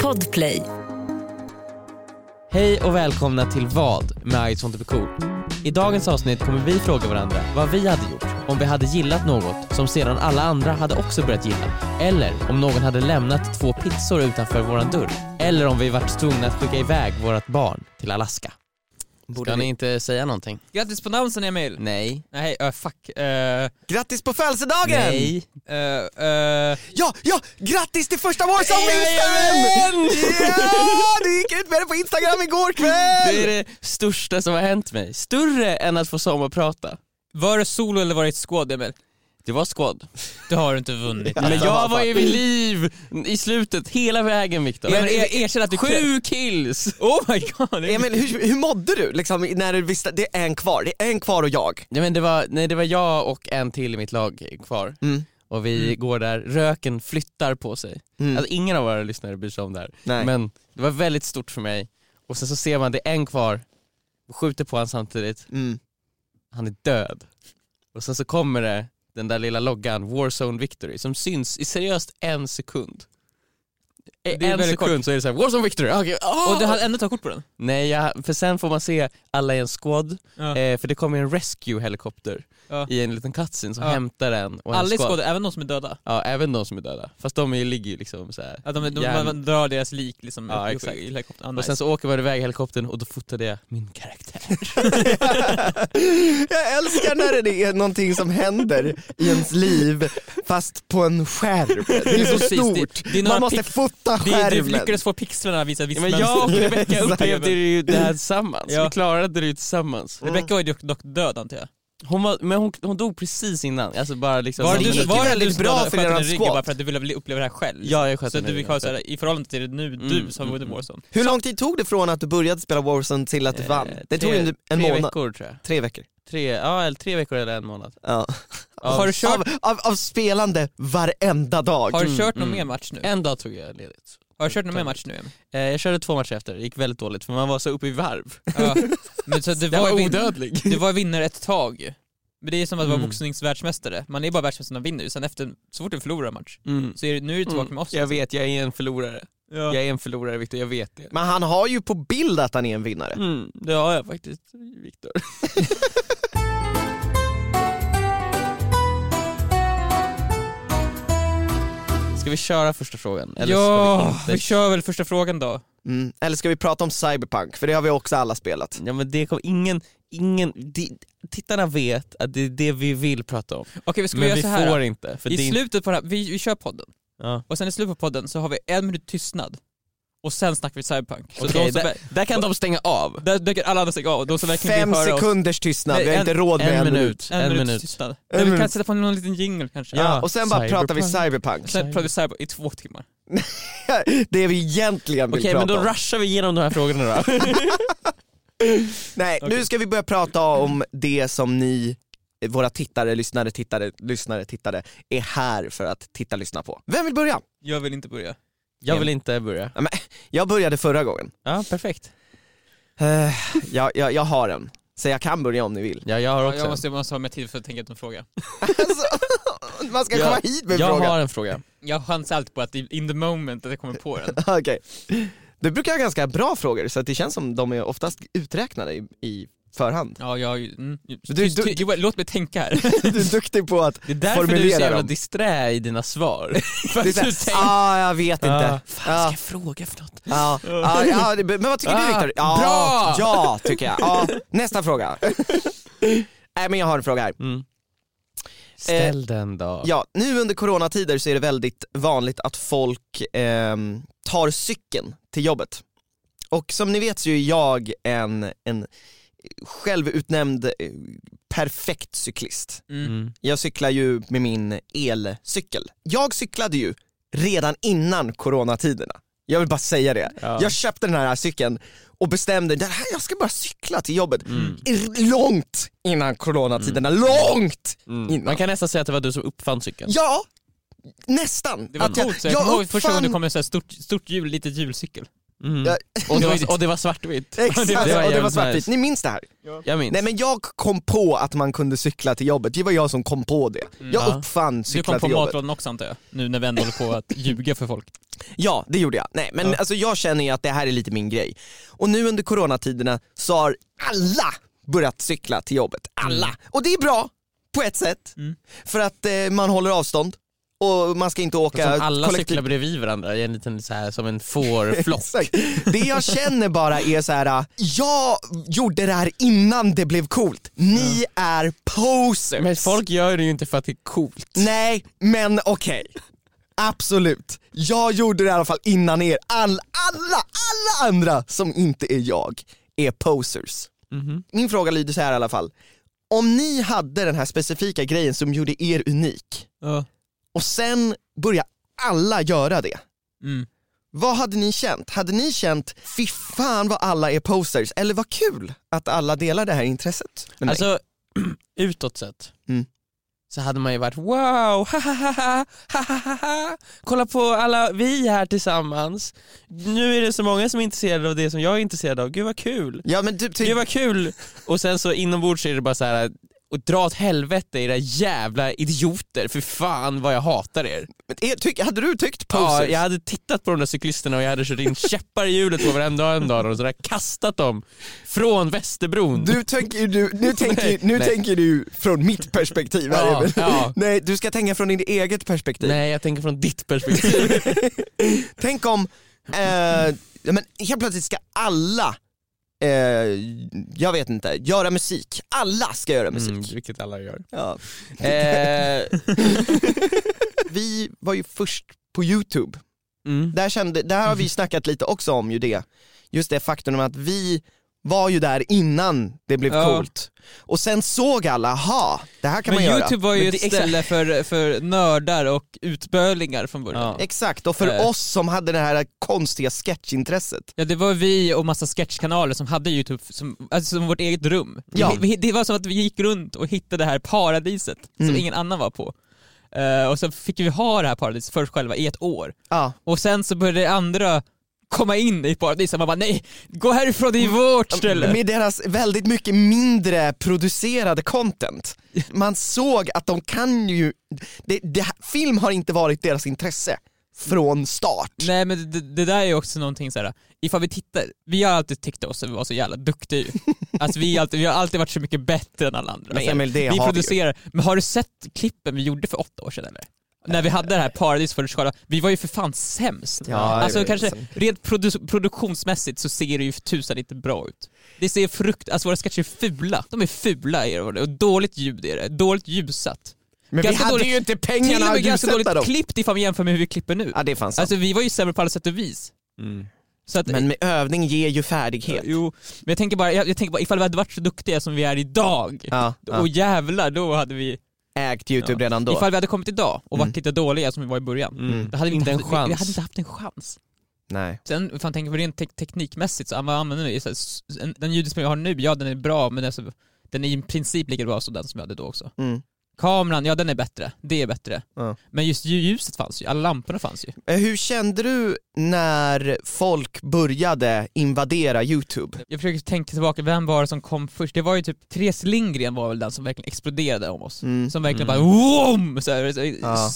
Podplay. Hej och välkomna till Vad med I sånt är cool. I dagens avsnitt kommer vi fråga varandra vad vi hade gjort om vi hade gillat något som sedan alla andra hade också börjat gilla. Eller om någon hade lämnat två pizzor utanför våran dörr. Eller om vi varit tvungna att skicka iväg vårt barn till Alaska. Borde Ska vi- ni inte säga någonting? Grattis på namnsdagen Emil! Nej. Nej, eh, fuck. Eh, Grattis på födelsedagen! Nej. eh, eh, Ja, ja, grattis till första vår som Instagram! Ja, du gick ut med det på Instagram igår Det är kväll! det största som har hänt mig. Större än att få sommarprata. var det solo eller var det ett skåd Emil? Det var skåd. Det har du inte vunnit. Men jag var ju vid liv i slutet hela vägen Viktor. Emil, er, erkänn att du Sju kills! Oh my god! Emil, hur, hur mådde du liksom, när du visste att det är en kvar? Det är en kvar och jag. Ja, men det, var, nej, det var jag och en till i mitt lag kvar. Mm. Och vi går där, röken flyttar på sig. Mm. Alltså, ingen av våra lyssnare bryr sig om det här. Nej. Men det var väldigt stort för mig. Och sen så ser man det är en kvar, skjuter på honom samtidigt, Mm. han är död. Och sen så kommer det den där lilla loggan, Warzone Victory, som syns i seriöst en sekund. I Det är en väldigt sekund så är det så här, Warzone Victory! Ah, okej, ah! Och du hade ändå tagit kort på den? Nej, jag, för sen får man se alla i en squad, Ja. eh, för det kommer en rescue-helikopter Ja. i en liten cutscene som Ja. hämtar en och en Alla i squad. skåd, även de som är döda? Ja, även de som är döda. Fast de är, ligger ju liksom så här. Att de, de, Järn- man, man drar deras lik liksom Ja, upp i- exakt. i helikoptern? Ah, Och nice. sen så åker man iväg i helikoptern och då fotade jag min karaktär. Jag älskar när det är någonting som händer i ens liv fast på en skärm. Det är så Precis, det- stort. det är några Man måste pix- fota det, du skärmen. lyckades få pixlarna att visa ett visst Men jag och Rebecka Exakt. upplevde ju det här tillsammans. Ja. Vi klarade det ju tillsammans. Rebecka var ju dock, dock död antar jag. Hon var, men hon, hon dog precis innan. Alltså bara liksom Var som det du, gick- var det du väldigt som bra dödade- för sköt deras den i ryggen squad. bara för att du ville uppleva det här själv? Ja, jag sköt så att den i Eh, du fick ryggen. ha såhär, i förhållande till det nu, du Mm, som mm, vunnit Warzone. Hur lång tid tog det från att du började spela Warzone till att du Eh, vann? Det tog tre- en, en tre månad. veckor tror jag. Tre veckor. Tre, ja, eller tre veckor eller en månad. Ja. Ja. Har du kört, Av, av, av spelande varenda dag. har du kört någon Mm, mer mm. match nu? En dag tog jag ledigt. Har du kört någon mer match nu Emil? Eh, jag körde två matcher efter, det gick väldigt dåligt för man var så uppe i varv. Ja. Men så du Jag var, var vin- odödlig. du var vinnare ett tag ju. Men det är som att vara Mm. boxningsvärldsmästare. Man är bara världsmästare när man vinner ju. Sen efter, så fort du förlorar en match, Mm. så är det, nu är du tillbaka med oss. Jag vet, jag är en förlorare. Ja. Jag är en förlorare Viktor, jag vet det. Men han har ju på bild att han är en vinnare. Mm, det har jag faktiskt, Viktor. Ska vi köra första frågan? Eller ja, ska vi, vi inte? kör väl första frågan då. Mm. Eller ska vi prata om Cyberpunk? För det har vi också alla spelat. Ja men det kommer ingen, ingen, de, tittarna vet att det är det vi vill prata om. Okej, vi ska men göra vi så här. får då. inte. För det I är slutet på den här, vi, vi kör podden. inte, ja. Och sen i slutet på podden så har vi en minut tystnad. Och sen snackar vi cyberpunk. Så Okej, de som, där, där kan de stänga av. där dyker alla andra stänga av. De som verkligen Fem vill höra oss. sekunders tystnad, Nej, vi har en- inte råd med En minut, En, en minut, minut. tystnad. En Nej, vi kan minut. sätta på någon liten jingle kanske. Ja. Och sen bara pratar vi Cyberpunk. Sen pratar vi cyberpunk i två timmar. Det vi egentligen vill Okej men prata då om. rushar vi igenom de här frågorna då. Nej, nu ska vi börja prata om det som ni, eh, våra tittare, lyssnare, tittare, lyssnare, tittare, är här för att titta, lyssna på. Vem vill börja? Jag vill inte börja. Jag vill inte börja. Ja, men, Jag började förra gången. Ja, perfekt. Eh, Jag, jag, jag har en, så jag kan börja om ni vill. Ja, jag har också Jag en. måste, jag måste ha mer tid för att tänka ut en fråga. Alltså, man ska Ja, komma hit med Jag frågan. har en fråga. Jag chansar alltid på att i- in the moment att jag kommer på den. Okej. Du brukar ha ganska bra frågor så att det känns som de är oftast uträknade i, i förhand. Ja, jag... Mm, Du- tyst, du- ty- Joel, låt mig tänka här. Du är duktig på att Det är därför du är så formulera jävla dem. disträ i dina svar. För Det är att så här, du tänker, ah, jag vet Ah, inte. ska Ah, jag fråga för något? ah, ah, ja, det- men vad tycker du Ah, Viktor? Ja, bra! ja, tycker jag. Ja, nästa fråga. Nej men jag har en fråga här. Mm. Ställ den då. Ja, nu under coronatider så är det väldigt vanligt att folk ehm, tar cykeln till jobbet. Och som ni vet så är jag en, en självutnämnd eh, perfekt cyklist. Mm. Mm. Jag cyklar ju med min elcykel. Jag cyklade ju redan innan coronatiderna. Jag vill bara säga det. Ja. Jag köpte den här cykeln och bestämde den här, jag ska bara cykla till jobbet. Mm. Långt innan coronatiderna, långt! Mm. Man kan nästan säga att det var du som uppfann cykeln. Ja, nästan. Det var Att jag- coolt, så jag jag kommer ihåg första uppfann- gången det kom en sån här stort, stort hjul, litet hjulcykel. Mm. Ja, Och det var, och det var svartvitt. Exakt, var och det var jävligt svartvitt. nice. Ni minns det här? Jag minns. Nej men jag kom på att man kunde cykla till jobbet, det var jag som kom på det. Jag Ja. uppfann Du cykla kom på till jobbet. matlådan också antar jag, nu när vi ändå håller på att ljuga för folk. Ja, det gjorde jag. Nej, men Ja. alltså jag känner ju att det här är lite min grej. Och nu under coronatiderna så har alla börjat cykla till jobbet. Alla! Mm. Och det är bra, på ett sätt. Mm. För att eh, man håller avstånd och man ska inte åka Som alla kollektiv- cyklar bredvid varandra i en liten så här, som en fårflock. Exakt. Det jag känner bara är så här. jag gjorde det här innan det blev coolt. Ni är posers. Men folk gör det ju inte för att det är coolt. Nej, men okej. Absolut. Jag gjorde det i alla fall innan er. All, alla, alla andra som inte är jag är posers. Mhm. Min fråga lyder så här i alla fall. Om ni hade den här specifika grejen som gjorde er unik Ja. och sen började alla göra det. Mm. Vad hade ni känt? Hade ni känt, fy fan vad alla är posers, eller vad kul att alla delar det här intresset? med mig?" Alltså, utåt sett Mm. så hade man ju varit wow, ha ha ha ha, ha ha ha ha, kolla på alla vi här tillsammans. Nu är det så många som är intresserade av det som jag är intresserad av, gud vad kul. ja, men typ, typ, Gud vad kul! Och sen så inombords så är det bara så här och dra åt helvete era jävla idioter, för fan vad jag hatar er. men är- tyck, hade du tyckt Ja, posers? jag hade tittat på de där cyklisterna och jag hade kört in käppar i hjulet på varenda en dag och så där kastat dem från Västerbron. Du tänker, du, nu tänker, nu Nej. tänker du från mitt perspektiv här Ja, Emil. ja. Nej, du ska tänka från ditt eget perspektiv. Nej, jag tänker från ditt perspektiv. Tänk om, eh, ja, men helt plötsligt ska alla, eh, jag vet inte, göra musik. Alla ska göra musik. Mm, vilket alla gör. Ja. Eh, Vi var ju först på YouTube. mm, Där, kände, där har vi snackat lite också om ju det. Just det faktum att vi var ju där innan det blev Ja. coolt. Och sen såg alla, ha, det här kan Men man göra. Youtube var ju Men ett det- ställe för, för nördar och utbölingar från början. ja. Ja. Exakt, och för Eh. oss som hade det här konstiga sketchintresset. det var vi och massa sketchkanaler som hade Youtube som, alltså som vårt eget rum. Ja. Vi, vi, det var som att vi gick runt och hittade det här paradiset Mm. som ingen annan var på. Eh, och så fick vi ha det här paradiset för oss själva i ett år. Ja. Och sen så började andra komma in i paradiset, man bara nej, gå härifrån, det är vårt Mm. ställe. Med deras väldigt mycket mindre producerade content. Man såg att de kan ju, det, det, här- film har inte varit deras intresse från start. Nej men det, det där är ju också någonting såhär, ifall vi tittar, vi har alltid tyckt oss att vi var så jävla duktiga ju. Alltså vi, har alltid, vi har alltid varit så mycket bättre än alla andra. Men Alltså, Emil, det vi har vi ju. producerar, men har du sett klippen vi gjorde för åtta år sedan eller? När vi hade det här paradis för skala, vi var ju för fan sämst. Eh, Ja, det alltså är kanske, sant. rent produ- produktionsmässigt så ser det ju för tusan inte bra ut. Det ser frukt, alltså våra sketcher är fula. De är fula är det, och dåligt ljud är det, dåligt ljussatt. Men vi ganska hade dåligt- ju inte Till pengarna och med att ganska dåligt utsätta dem. klippt ifall vi jämför med hur vi klipper nu. Ja det är fan sant. Alltså vi var ju sämre på alla sätt och vis. Mm. Så att, men med övning ger ju färdighet. Jo, men jag tänker bara, jag, jag tänker bara ifall vi hade varit så duktiga som vi är idag, Ja, och ja. jävlar då hade vi, Ägt Youtube redan då. ifall vi hade kommit idag och Mm. varit lite dåliga som vi var i början, Mm. då hade vi Inte en haft, vi, vi chans. hade inte haft en chans. Nej. Sen, fan tänker vi rent tek- teknikmässigt, så vad använder vi? Så här, s- en- Den ljudinspelning vi har nu, ja den är bra men alltså, den är i princip lika bra som den som vi hade då också. Mm. Kameran, ja den är bättre, det är bättre. Ja. Men just lju- ljuset fanns ju, alla lamporna fanns ju. Eh, Hur kände du när folk började invadera Youtube? Jag försöker tänka tillbaka, vem var det som kom först? Det var ju typ, Therese Lindgren var väl den som verkligen exploderade om oss. Mm. Som verkligen Mm. bara WOOM! Så här, så, Ja.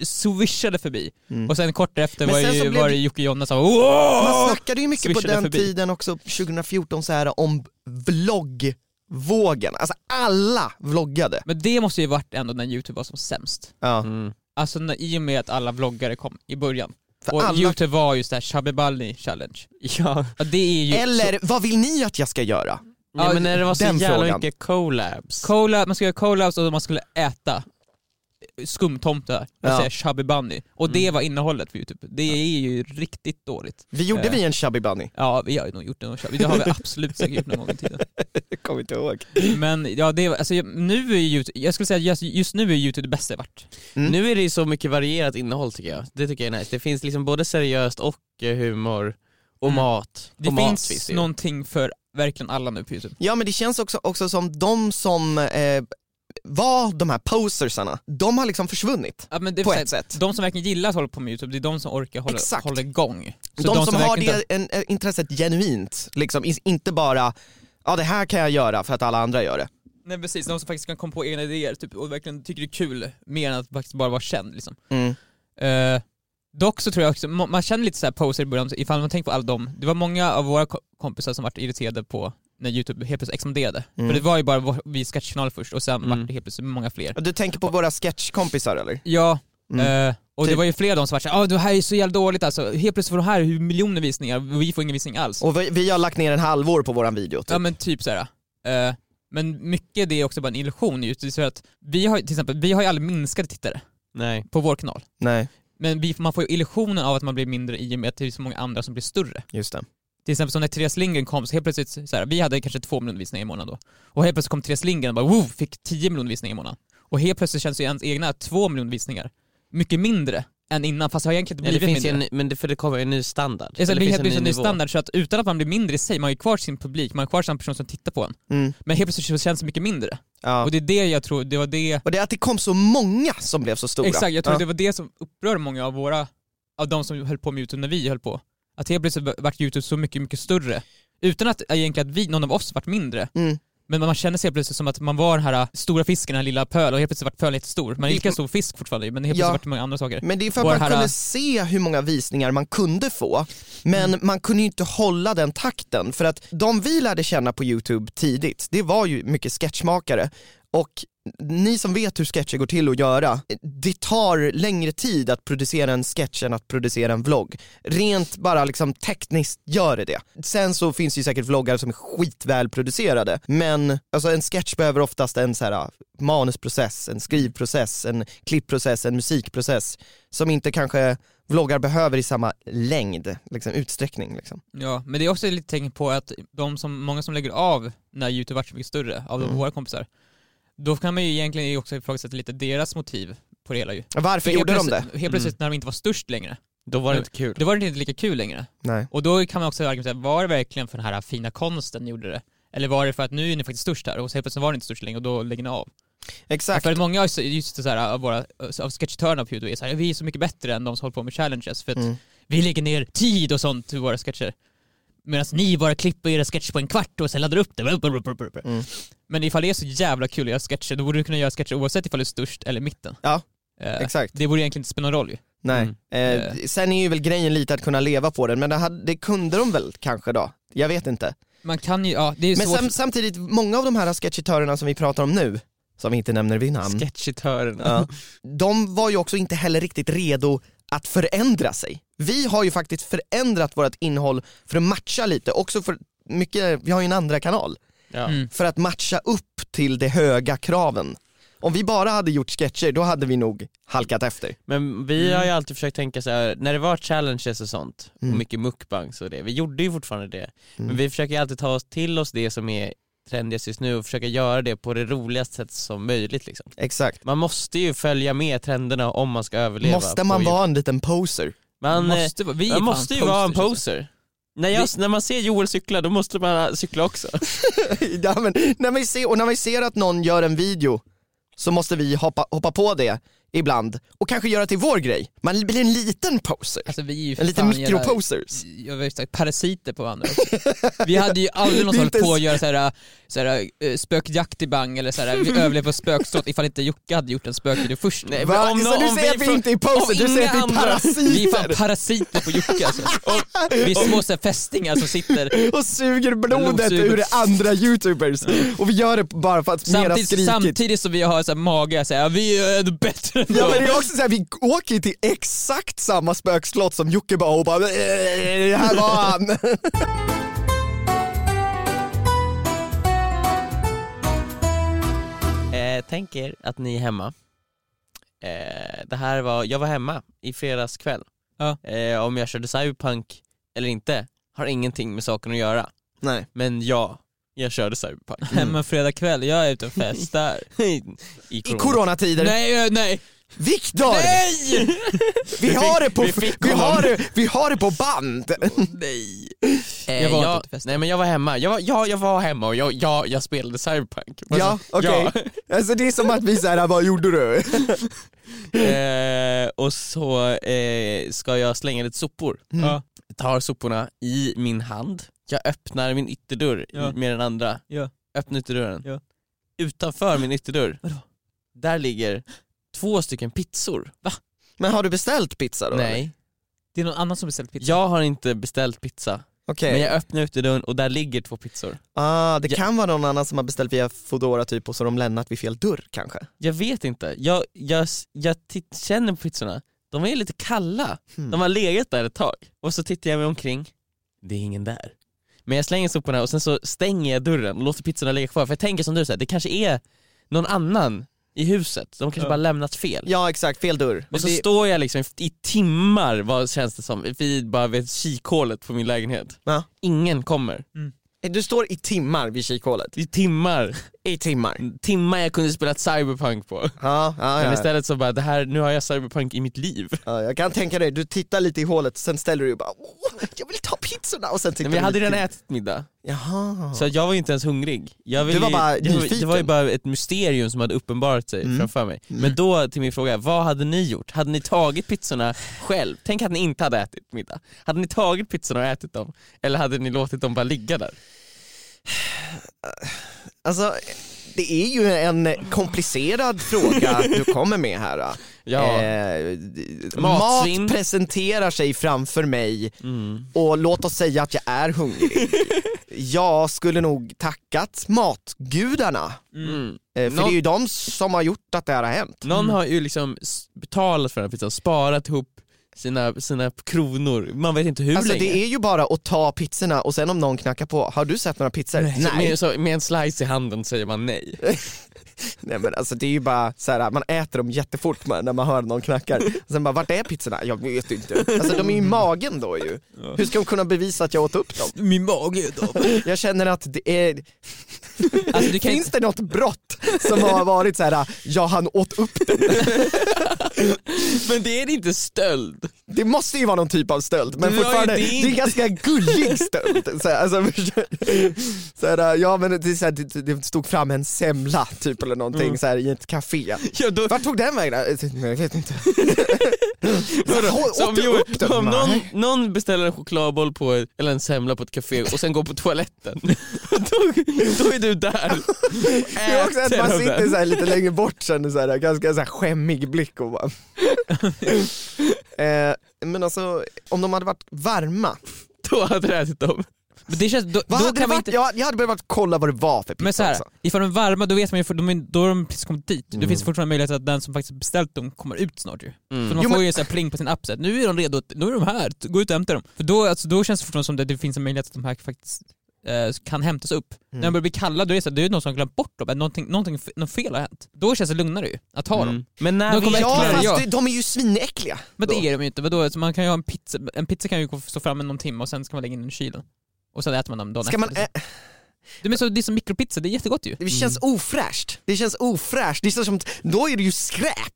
s- swishade förbi. Mm. Och sen kort därefter Men var, sen ju, så blev var det- det Jocke och Jonna som WOOM! Man snackade ju mycket på swishade den förbi. tiden också, 2014, så här, om vloggvågen. Alltså alla vloggade. Men det måste ju varit ändå när youtube var som sämst. Ja. Mm. Alltså när, i och med att alla vloggare kom i början. För och alla... youtube var just det här Shabibalni challenge. Ja. Ja, det är ju... Eller vad vill ni att jag ska göra? ja, men när det var så Den jävla frågan. mycket collabs. Cola, man skulle göra collabs och man skulle äta skumtomtar, Ja. Mm. alltså Chubby Bunny. Och det var innehållet på youtube. Det är ju riktigt dåligt. Vi gjorde Eh. vi en Chubby Bunny? Ja, vi har ju nog gjort det någon Chubby, det har vi absolut säkert gjort någon gång i tiden. Jag kommer inte ihåg. Men ja, det, var- alltså, jag- nu är YouTube, jag skulle säga att just, just nu är YouTube det bästa jag varit. Mm. Nu är det ju så mycket varierat innehåll tycker jag. Det tycker jag är nice. Det finns liksom både seriöst och eh, humor och Mm. mat. Det och mat finns finns det ju. någonting för verkligen alla nu på YouTube. Ja men det känns också, också som de som eh, var de här posersarna, de har liksom försvunnit. Ja, men det är På så här, ett sätt. De som verkligen gillar att hålla på med YouTube, det är de som orkar hålla, Exakt. hålla igång. Så De, som, har verkligen det en, en, intresset genuint, liksom, is- inte bara ja det här kan jag göra för att alla andra gör det. Nej precis, de som faktiskt kan komma på egna idéer typ, och verkligen tycker det är kul mer än att faktiskt bara vara känd liksom. Eh, dock så tror jag också, må- man känner lite så här poser i början, ifall man tänker på alla dem. Det var många av våra ko- kompisar som vart irriterade på när YouTube helt plötsligt exploderade. Mm. För det var ju bara vår- vi sketchkanal först och sen Mm. vart det helt plötsligt många fler. Och Du tänker på våra sketchkompisar eller? Ja, eh, och det Typ. var ju flera av dem som vart såhär, ah, det här är så jävla dåligt alltså. Helt plötsligt får de här hur miljoner visningar och vi får ingen visning alls. Och vi, vi har lagt ner en halvår på våran video. Typ. Ja men typ såhär. Eh, men mycket det är också bara en illusion ju. Det är så att vi har ju- till exempel, vi har ju aldrig minskade tittare Nej. på vår kanal. Nej, Men vi, man får ju illusionen av att man blir mindre i och med att det är så många andra som blir större. just det. Till exempel som när Therese Lindgren kom, så helt plötsligt, så här, vi hade kanske två miljoner visningar i månaden då. Och helt plötsligt kom Therese Lindgren och bara wow, fick 10 miljoner visningar i månaden. Och helt plötsligt känns ju ens egna två miljoner visningar mycket mindre än innan, fast det har egentligen Nej, blivit det finns ju mindre. en, men det, för det kommer en ny standard. det är så här, Eller det finns helt plötsligt en ny nivå. standard, så att utan att man blir mindre i sig, man har ju kvar sin publik, man har kvar sin person som tittar på en. Mm. Men helt plötsligt så känns det mycket mindre. Ja. Och det är det jag tror, det var det Och det är att det kom så många som blev så stora. Exakt, jag tror ja. det var det som upprörde många av våra, av de som höll på med YouTube när vi höll på. Att helt plötsligt vart YouTube så mycket, mycket större. Utan att eh, egentligen att vi, någon av oss vart mindre. Mm. Men man känner sig helt plötsligt som att man var den här äh, stora fisken, den här lilla pölen, och helt plötsligt vart pölen jättestor. Man är lika stor fisk fortfarande men helt plötsligt Mm. Ja. vart det många andra saker. Men det är för att Vår man herra- kunde se hur många visningar man kunde få, men man kunde ju inte hålla den takten. För att de vi lärde känna på Youtube tidigt, det var ju mycket sketchmakare. Och ni som vet hur sketcher går till att göra, det tar längre tid att producera en sketch än att producera en vlogg. Rent bara liksom tekniskt gör det det. Sen så finns det ju säkert vloggar som är skitvälproducerade, men alltså en sketch behöver oftast en så här manusprocess, en skrivprocess, en klippprocess, en musikprocess som inte kanske vloggar behöver i samma längd, liksom, utsträckning. Liksom. Ja, men det är också lite tecken på att de som, många som lägger av när YouTube vart så mycket större, av Mm. våra kompisar, då kan man ju egentligen också ifrågasätta lite deras motiv på det hela ju. Varför gjorde de det? Mm. helt plötsligt- Helt plötsligt när de inte var störst längre, Då var det inte kul. då var det inte lika kul längre. Nej. Och då kan man också argumentera, var det verkligen för den här fina konsten ni gjorde det? Eller var det för att nu är ni faktiskt störst här och så helt plötsligt var ni inte störst längre och då lägger ni av? Exakt. För att många av- just det så här, av, våra, av sketchtörerna på Youtube är så här, vi är så mycket bättre än de som håller på med challenges för att Mm. vi lägger ner tid och sånt i våra sketcher. Medan ni bara klipper era sketcher på en kvart och sen laddar upp det. Mm. Men ifall det är så jävla kul att göra sketcher, då borde du kunna göra sketcher oavsett ifall du är störst eller i mitten. Ja, Eh, Exakt. Det borde egentligen inte spela någon roll ju. Nej. Eh, Eh. sen är ju väl grejen lite att kunna leva på den, men det, hade, det kunde de väl kanske då? Jag vet inte. Man kan ju, ja det är ju Men svårt. sam, samtidigt, många av de här sketchitörerna som vi pratar om nu, som vi inte nämner vid namn, Sketchitörerna. Ja. de var ju också inte heller riktigt redo att förändra sig. Vi har ju faktiskt förändrat vårt innehåll för att matcha lite, också för mycket, vi har ju en andra kanal, Ja. Mm. för att matcha upp till de höga kraven. Om vi bara hade gjort sketcher, då hade vi nog halkat efter. Men vi har ju alltid försökt tänka så här, när det var challenges och sånt, Mm. och mycket mukbangs och det, vi gjorde ju fortfarande det, men Mm. vi försöker ju alltid ta oss till oss det som är trendigast just nu och försöka göra det på det roligaste sättet som möjligt liksom. Exakt. Man måste ju följa med trenderna om man ska överleva. Måste på man Youtube. vara en liten poser? Man, eh, måste, måste, vara- vi är man fan måste ju vara en posters, alltså. poser. När, jag, när man ser Joel cykla, då måste man cykla också. ja, men, när vi ser, och när vi ser att någon gör en video så måste vi hoppa, hoppa på det ibland och kanske göra till vår grej. Man blir en liten poser. Alltså vi är ju En liten fan jävla- mikroposers. jag vet inte, parasiter på varandra. Vi hade ju aldrig någon Det är som inte höll på att ens- göra såhär, såhär, eh, spökjakt i bang eller såhär, vi överlevde på spökslott ifall inte Jocke hade gjort en spökvideo först. Nej, men Va? om så nå- du om säger vi att vi från- inte är poser, om du säger att inga vi är andra- Vi är fan parasiter parasiter på Jocke alltså. Och vi är små såhär fästingar som sitter och suger blodet Blodsuger. ur andra youtubers. Och vi gör det bara för att mera samtidigt, skrikigt. samtidigt som vi har såhär mage, såhär, vi är ändå bättre än Ja men dem. det är också såhär, vi åker ju till exakt samma spökslott som Jocke bara och bara "Eh, här var han. Eh, tänk er att ni är hemma. Eh, det här var, jag var hemma i fredags kväll. Ja. Eh, om jag körde cyberpunk eller inte har ingenting med saken att göra. Nej. Men ja, jag körde cyberpunk. Hemma fredag kväll, jag är ute och festar. I, I coronatider. nej, eh, nej, Viktor! Nej! Vi Alltså, har det på, vi fick vi honom. har det, vi har det på band! Nej. Eh, Jag var inte jag, till festen. nej men jag var hemma, jag var, ja, jag var hemma och jag, jag, jag spelade Cyberpunk. Ja, okej. Alltså det är som att vi såhär, vad gjorde du? Ja. Eh, och så eh, ska jag slänga lite sopor. Ja, Tar soporna i min hand, jag öppnar min ytterdörr i- Ja. med den andra. Ja. Öppnar ytterdörren. Ja. Utanför min ytterdörr, Vadå? där ligger två stycken pizzor. Men har du beställt pizza då? eller? Nej, det är någon annan som beställt pizza. jag har inte beställt pizza. Okej, Men jag öppnar ytterdörren och där ligger två pizzor. ah, det Ja. kan vara någon annan som har beställt via Foodora typ och så har de lämnat vid fel dörr kanske. Jag vet inte, jag, jag, jag titt, känner på pizzorna, de är lite kalla. Hmm. De har legat där ett tag. Och så tittar jag mig omkring, det är ingen där. Men jag slänger soporna och sen så stänger jag dörren och låter pizzorna ligga kvar. För jag tänker som du, så här, det kanske är någon annan i huset, de kanske Ja. bara lämnat fel. Ja exakt, fel dörr. Och så det- står jag liksom i timmar, vad känns det som, vid bara vid kikhålet på min lägenhet. Ja. Ingen kommer. Mm. Du står i timmar vid kikhålet. I timmar, I timmar. timmar jag kunde spela cyberpunk på. Ja, ja, Men ja. istället så bara, det här, nu har jag cyberpunk i mitt liv. ja, jag kan tänka dig, du tittar lite i hålet, sen ställer du dig och bara Åh, jag vill ta pizzorna och sen tittar Nej, men jag hade du redan lite till. ätit middag, Jaha. så jag var ju inte ens hungrig. Jag Du var ju- bara det, var, det nyfiken. var ju bara ett mysterium som hade uppenbarat sig Mm. framför mig. Mm. Men då till min fråga, vad hade ni gjort? Hade ni tagit pizzorna själv? Tänk att ni inte hade ätit middag. Hade ni tagit pizzorna och ätit dem? Eller hade ni låtit dem bara ligga där? Alltså, det är ju en komplicerad fråga du kommer med här. då. Ja. Eh, d- Matsvinn. mat presenterar sig framför mig Mm. och låt oss säga att jag är hungrig. jag skulle nog tackat matgudarna, Mm. eh, för Nå- det är ju de som har gjort att det här har hänt. Någon har ju liksom s- betalat för den här pizzan, sparat ihop sina, sina kronor, man vet inte hur Alltså länge. det är ju bara att ta pizzorna och sen om någon knackar på, har du sett några pizzor? Så Med, så, med en slice i handen säger man nej. Nej men alltså det är ju bara så här, man äter dem jättefort man, när man hör någon knackar. Och sen bara, vart är pizzorna? Jag vet inte. Alltså de är ju i magen då ju. Hur ska de kunna bevisa att jag åt upp dem? Min mage är då. Jag känner att det är, Alltså du kan finns det något brott som har varit så här, ja han åt upp den. Men det är inte stöld. Det måste ju vara någon typ av stöld, men Det var ju fortfarande, det det är inte. ganska gullig stöld. Så här, alltså, så här, ja men det, är så här, det, det stod fram en semla typ eller någonting så här, i ett café. Ja, då, Vart tog den vägen? Jag vet inte. Åt Så om, du jo, upp den? om Nej. någon, någon beställer en chokladboll på, ett- eller en semla på ett café och sen går på toaletten, då, då är du där. Det är också att Äter man av sitter den. så här lite längre bort sen, så här, ganska så här skämmig blick och bara... eh, men alltså, om de hade varit varma, Då hade du ätit dem. Men det känns, då, vad då hade det kan man varit? inte... Jag, jag hade behövt kolla vad det var för pizza Men så här, också. ifall de är varma då vet man ju, för de är, då har de precis kommit dit. Mm. Det finns fortfarande möjlighet att den som faktiskt beställt dem kommer ut snart ju. För Mm. man Mm. Jo, får men- ju så här pling på sin app så här, nu är de redo, att- nu är de här, t- gå ut och hämta dem. För då, alltså, då känns det fortfarande som att det finns en möjlighet att de här faktiskt eh, kan hämtas upp. När Mm. de börjar bli kalla då är det, så här, det är någon som har glömt bort dem, eller någonting, någonting, f- något fel har hänt. Då känns det lugnare ju, att ha dem. Mm. Men när Då kommer vet jag- Ja man- fast ja. det- de är ju svinäckliga. Men då. det är de ju inte, vadå? Så man kan ju ha en pizza, en pizza kan ju gå- stå framme någon timme och sen ska man lägga in den i kylen. Och sen äter man dem dagen Ska man, efter. ä- Det, men så, det är som mikropizza, det är jättegott ju. det känns ofräscht. Det känns ofräscht. Det känns som, då är det ju skräp.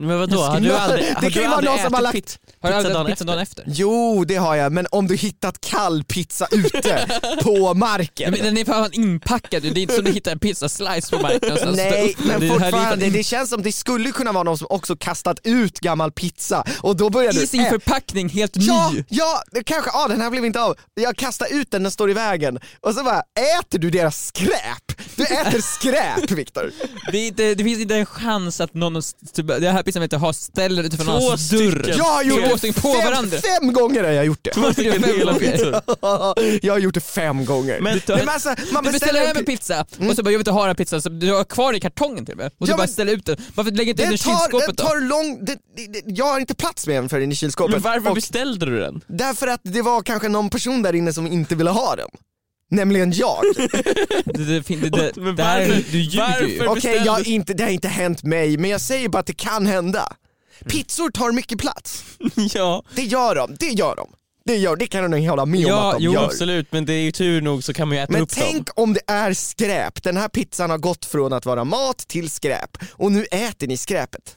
Men vadå, har Det du kan aldrig, ju har du vara aldrig någon som ätit har lagt- pizza, Har pizza du aldrig dagen ätit efter? pizza dagen efter? Jo det har jag, men om du hittat kall pizza ute på marken. Ja, men den är fan inpackad ju, det är inte som du hittar en pizzaslice på marknaden och sen Nej, stå upp den. men Alltså, Det här är fortfarande, lite- det känns som det skulle kunna vara någon som också kastat ut gammal pizza och då börjar du... I sin Äh, förpackning, helt Ja, ny! ja, det kanske, ah, den här blev inte av. Jag kastar ut den, den står i vägen. Och så bara, äter du deras skräp? Du äter skräp Viktor. Det, är inte, det finns inte en chans att någon, typ, det här pizzan vi inte har, ställer utifrån Två någon annans dörr. stycken. Jag har gjort Två det stycken på varandra. fem, fem gånger har jag gjort det. Två stycken hela Fem gånger. pizzor. jag har gjort det fem gånger. Men- Mm. Nej, men alltså, man Du beställer hem en pizza. pizza, och så bara jag vill inte ha den här pizzan, så du har kvar den i kartongen till och med. Och så Ja, bara men- ställer ut den. Varför lägger inte in den i Den tar, kylskåpet den då? tar lång, det, det, det, jag har inte plats med den för den i kylskåpet. Men varför Och- beställde du den? Därför att det var kanske någon person där inne som inte ville ha den. Nämligen jag. Det, det, fin- det, det, Men det här, är- varför- du ljuger ju. varför- Okej, jag har inte, det har inte hänt mig, men jag säger bara att det kan hända. Pizzor tar mycket plats. ja, Det gör de, det gör de. Det, gör, det kan jag nog hålla med om ja att de jo gör. absolut men det är ju tur nog så kan man ju äta Men upp dem. tänk om det är skräp. Den här pizzan har gått från att vara mat till skräp och nu äter ni skräpet.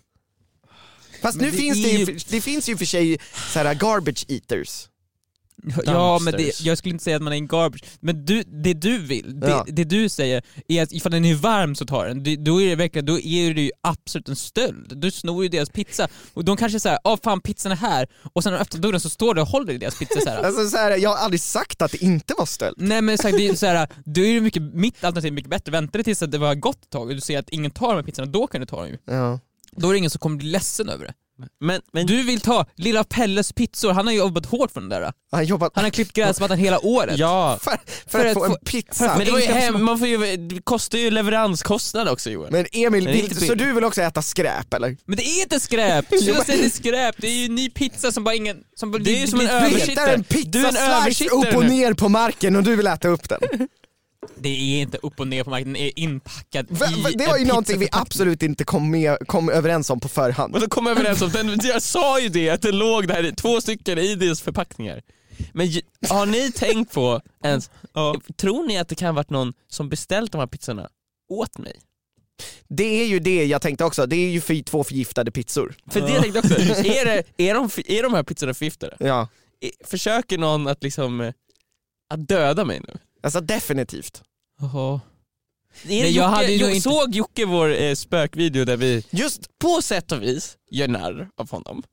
Fast Men nu det finns är det ju, ju- det finns ju för sig så här garbage eaters. Ja men det, Dumpsters. jag skulle inte säga att man är en garbage, men du, det du vill, det, Ja. det du säger är att ifall den är varm så tar den, Det- då är det verkligen, då är det ju absolut en stöld. Du snor ju deras pizza och de kanske säger åh "Ah, fan pizzan är här och sen när de öppnar dörren så står du och håller i deras pizza så här. Alltså så här, jag har aldrig sagt att det inte var stöld. Nej men exakt, det är ju så här, då är det mycket, mitt alternativ är mycket bättre, vänta dig tills att det var gott ett tag och du ser att ingen tar de här pizzorna, då kan du ta dem ju. Ja. Då är det ingen som kommer bli ledsen över det. Men, men Du vill ta lilla Pelles pizzor, han har ju jobbat hårt för den där. Han jobbat Han har klippt gräsmattan hela året. ja. för, för, att, få en pizza. Men det, var ju Inte ens- hem, man får ju, det kostar ju leveranskostnad också Johan. Men Emil, Det är inte vill, så bild. du vill också äta skräp eller? Men det är inte skräp! Sluta säga det är skräp, det är ju ny pizza som bara ingen... Som bara, Det är ju som en blir- översittare. Hittar en Du är en pizzaslice översittare upp och nu. ner på marken och du vill äta upp den. Det är inte upp och ner på marknaden, det är inpackad Va- va- i Det var en ju någonting vi pizzaförpackning. absolut inte kom, med, kom överens om på förhand. Och då kom jag överens om, den, jag sa ju det att det låg där i- två stycken i deras förpackningar. Men ju- har ni tänkt på ens, Ja. tror ni att det kan ha varit någon som beställt de här pizzorna åt mig? Det är ju det jag tänkte också, det är ju för, två förgiftade pizzor. För det tänkte jag också, är, det, är, de, är de här pizzorna förgiftade? Ja. I- Försöker någon att liksom, eh, att döda mig nu? Alltså definitivt. Jaha. Är det jag Jocke, hade ju Jo- inte- Såg Jocke vår eh, spökvideo där vi Just, på sätt och vis gör narr av honom?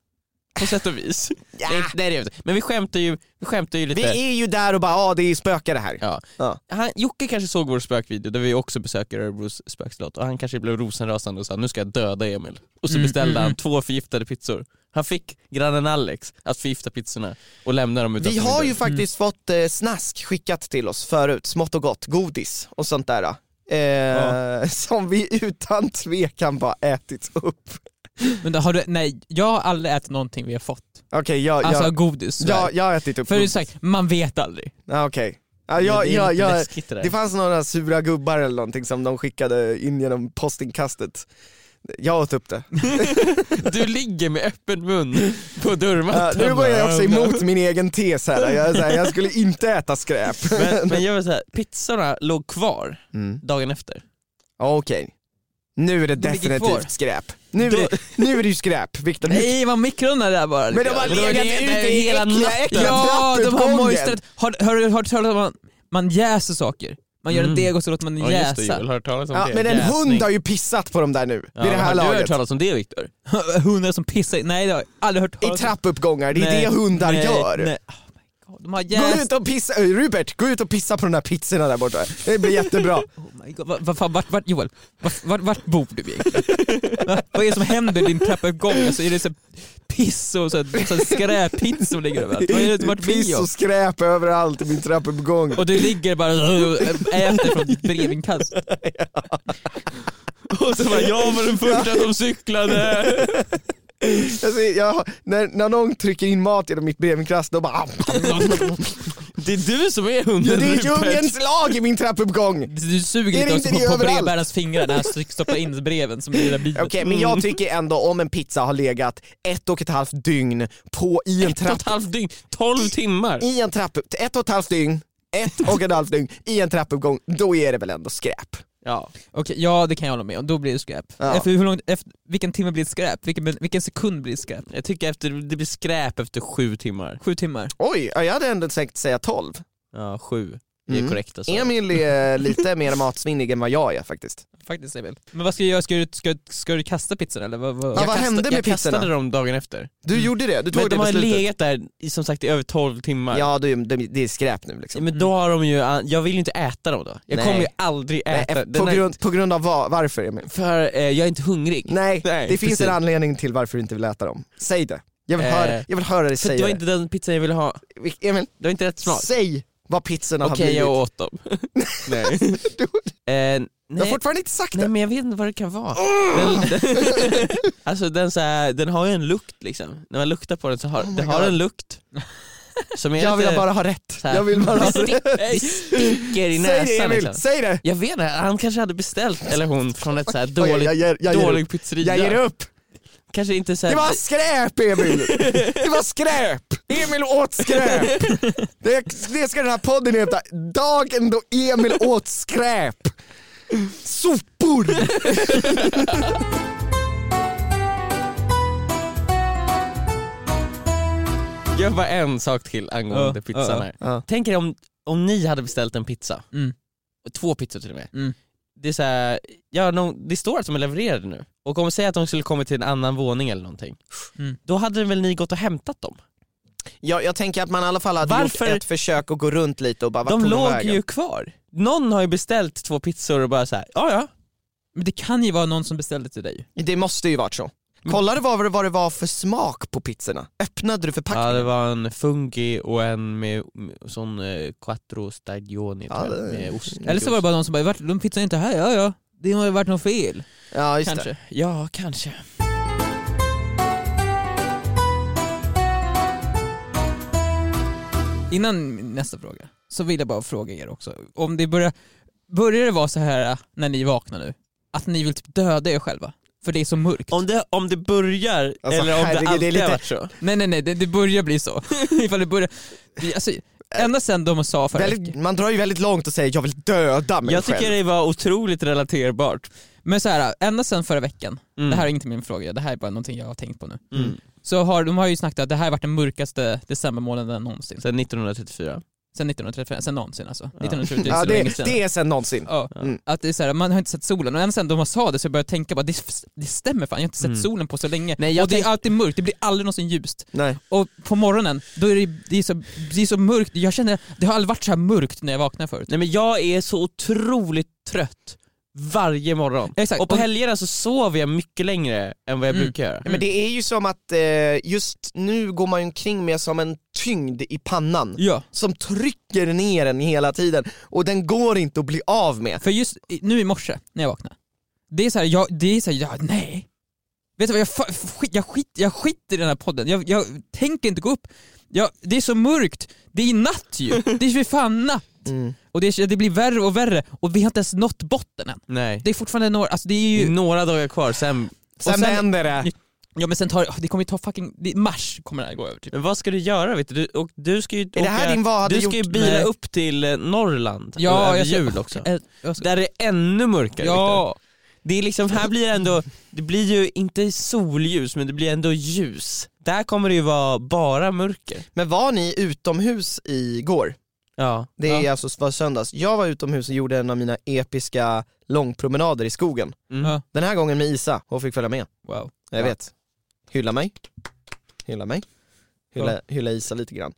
På sätt och vis. Eh, ja. Nej, nej, det gör vi inte. Men vi skämtar ju, vi skämtar ju lite. Vi är ju där och bara, ja det är spökar det här. Ja. Ja. Han, Jocke kanske såg vår spökvideo där vi också besöker Örebros spökslott och han kanske blev rosenrasande och sa nu ska jag döda Emil. Och så Mm, beställde mm, han mm. två förgiftade pizzor. Han fick grannen Alex att förgifta pizzorna och lämna dem utanför Vi har min ju dörr. faktiskt fått eh, snask skickat till oss förut, smått och gott, godis och sånt där. Eh, Som vi utan tvekan bara ätit upp. Men då har du, nej, jag har aldrig ätit någonting vi har fått. Okej, jag, Alltså jag, godis. sådär. jag, jag har ätit upp För det är godis. sagt, man vet aldrig. Ja, Okej. Ja, Men jag, det är jag, lite jag, läskigt det där. det fanns några sura gubbar eller någonting som de skickade in genom postinkastet. Jag åt upp det. Du ligger med öppen mun på Ja, dörrmattan. nu går jag också emot min egen tes här, jag, är så här, jag skulle inte äta skräp. Men, men jag vill säga, pizzorna låg kvar Mm. dagen efter. Okej, nu är det Det ligger kvar. definitivt skräp. Nu är det, nu är det ju skräp, Viktor. Nu- Nej, man mikronar det där bara. Men de har lite. legat det- ute det är i hela äckliga, natten. äckliga Ja, de har trappuppgången. moisterat. Har, har du hört talas om att man, man jäser saker? Man gör en Mm. deg och så låter man den Ja, just det, jäsa. Joel, har hört talas om Ja, det? men en Jäsning. hund har ju pissat på dem där nu, Ja, vid det här har du hört laget. talas om det Viktor? Hundar som pissar i- Nej, det har jag aldrig hört I talas om. trappuppgångar, det är Nej, det hundar nej, gör. nej. Oh De har Gå jäst... ut och pissa, Öj, Rupert, gå ut och pissa på de där pizzorna där borta. Det blir jättebra. Oh my God. Vad- vad fan, vart, vart, Joel, vart, vart, vart bor du egentligen? Va? Vad är det som händer i din trappuppgång? Alltså, är det så här piss och så här, så här skräppiss som ligger överallt? Vad är det vart vi Piss är? och skräp överallt i min trappuppgång. Och du ligger bara och äter från ditt brevinkast. Och så bara, jag var den första som cyklade. Alltså, jag, när, när någon trycker in mat genom mitt brevinkast, då bara... "Ah, Det är du som är Det hunden är Rupert. djungens lag i min trappuppgång! Du suger Är det lite inte också det på, på överallt? brevbärarens fingrar när han st- stoppar in breven som är i den där bilen. Okej, men Mm. jag tycker ändå om en pizza har legat ett och ett halvt dygn på i Ett en och trapp... ett halvt dygn, tolv timmar. I en trapp... Ett och ett halvt dygn, ett och ett halvt dygn i en trappuppgång, då är det väl ändå skräp? Ja. Okej, ja det kan jag hålla med om, då blir det skräp. Ja. Efter, hur långt, efter, vilken timme blir det skräp? Vilken, vilken sekund blir det skräp? Jag tycker efter, det blir skräp efter sju timmar. Sju timmar? Oj, ja, jag hade ändå tänkt säga tolv. Ja, sju. Det är alltså. Mm. korrekta svar. Emil är lite mer matsvinnig än vad jag är faktiskt. Faktiskt Emil. Men vad ska jag göra? Ska du, ska, ska du kasta pizzan eller? Vad, vad? Ja, vad hände med jag kastade pizzorna? dem dagen efter. Du gjorde det, du Mm. tog Men det de har beslutet. legat där i, som sagt i över 12 timmar. Ja, det, det, det är skräp nu liksom. Men då har de ju, ah, jag vill ju inte äta dem då. Jag Nej. kommer ju aldrig Nej, eh, äta. den på, här- grund, på grund av vad, varför Emil? För eh, jag är inte hungrig. Nej, Nej, det finns precis. en anledning till varför du inte vill äta dem. Säg det. Jag vill, Eh, höra, jag vill höra dig För säga det var inte den pizzan jag ville ha. det. Emil, Det var inte rätt smak. säg vad pizzorna Okej, har blivit. jag åt dem. nej. Eh, Jag har nej, fortfarande inte sagt nej, det. men jag vet inte vad det kan vara. Den, alltså den, så här, den har ju en lukt liksom. När man luktar på den så har Oh my den har God. en lukt. Som är Jag vill lite bara ha rätt. så här- Jag vill bara ha rätt. Det sticker i Säg det näsan Emil, liksom. säg det! Jag vet inte, han kanske hade beställt, eller hon, från ett så här Okej, dåligt, jag, ger, jag, ger upp. dålig pizzeria. jag ger upp. Kanske inte så här, Det var skräp Emil! Det var skräp! Emil åt skräp! Det, det ska den här podden heta. Dagen då Emil åt skräp. Sopor! Jag har bara en sak till angående Ja, pizzan ja, ja. här. Ja. Tänk er om, om ni hade beställt en pizza, Mm. två pizzor till och med. Mm. Det, är så här, ja, de, det står att de är levererade nu, och om vi säger att de skulle kommit till en annan våning eller någonting, Mm. då hade väl ni gått och hämtat dem? Jag, jag tänker att man i alla fall hade Varför- gjort ett försök att gå runt lite och bara, vart de tog låg vägen? ju kvar. Någon har ju beställt två pizzor och bara så här, ja ja. Men det kan ju vara någon som beställde till dig. Det måste ju varit så. Kollade du vad, det- vad det var för smak på pizzorna? Öppnade du Ja, förpackningen? det var en fungi och en med med sån eh, quattro stagioni Ja, tror jag, det- med ost. Eller så var det bara någon som bara, "Vart- de pizzan är inte här, ja ja. Det har ju varit något fel. Ja, just Kanske. det. Ja, kanske. Innan nästa fråga så vill jag bara fråga er också. Om det börjar, börjar det vara så här äh, när ni vaknar nu, att ni vill typ döda er själva? För det är så mörkt. Om det, om det börjar, Alltså, eller om herregud, det det är alltid lite- har varit så. Nej nej nej, det, det börjar bli så. Ifall det börjar... Det, alltså, ända sen de sa förra Väldigt, veckan. man drar ju väldigt långt och säger jag vill döda mig Jag tycker själv. det var otroligt relaterbart. Men så här, äh, ända sen förra veckan, Mm. det här är inte min fråga, det här är bara någonting jag har tänkt på nu. Mm. Så har, de har ju snackat att det här har varit den mörkaste decembermånaden någonsin. Sen 1934. Sen 1935, sen någonsin alltså. 1930 ja, så det, länge sedan. det är sen någonsin. Ja. Mm. Att det är så här, man har inte sett solen, och än sen de sa det så jag började tänka bara, det, det stämmer fan, jag har inte sett Mm. solen på så länge. Nej, jag och det tänk- är alltid mörkt, det blir aldrig någonsin ljust. Nej. Och på morgonen, då är det, det, är så, det är så mörkt, jag känner, det har aldrig varit så här mörkt när jag vaknar förut. Nej men jag är så otroligt trött varje morgon. Exakt. Och på helgerna så sover jag mycket längre än vad jag Mm. brukar göra. Men det är ju som att eh, just nu går man ju omkring med som en tyngd i pannan Ja, som trycker ner en hela tiden och den går inte att bli av med. för just i- nu i morse när jag vaknade, det är så här, jag, det är så här, ja, nej. Vet du vad, jag, fa- skit, jag, skit, jag skiter i den här podden, jag, jag tänker inte gå upp. Jag, det är så mörkt, det är natt ju, det är för fan natt. Mm. Och det, det blir värre och värre och vi har inte ens nått botten än. Nej. Det är fortfarande några, alltså det är Det är ju... några dagar kvar, sen... Mm. Sen, sen- vänder det. Ja men sen tar det kommer ju ta fucking... Det, mars kommer det här gå över typ. Men vad ska du göra vet du? du? Och du ska ju Är det här din vad hade Du gjort? ska ju bila Nej. upp till eh, Norrland Ja, över jag ska- jul också. Eh, jag ska- Där är det ännu mörkare Viktor. Ja, Det är liksom, här blir det ändå, det blir ju inte solljus men det blir ändå ljus. Där kommer det ju vara bara mörker. Men var ni utomhus igår? Ja. Det är alltså var söndags. Jag var utomhus och gjorde en av mina episka långpromenader i skogen. Mm. Ja. Den här gången med Isa, hon fick följa med. wow. Jag Ja. vet. Hylla mig. Hylla mig. Hylla, Ja. hylla Isa lite grann.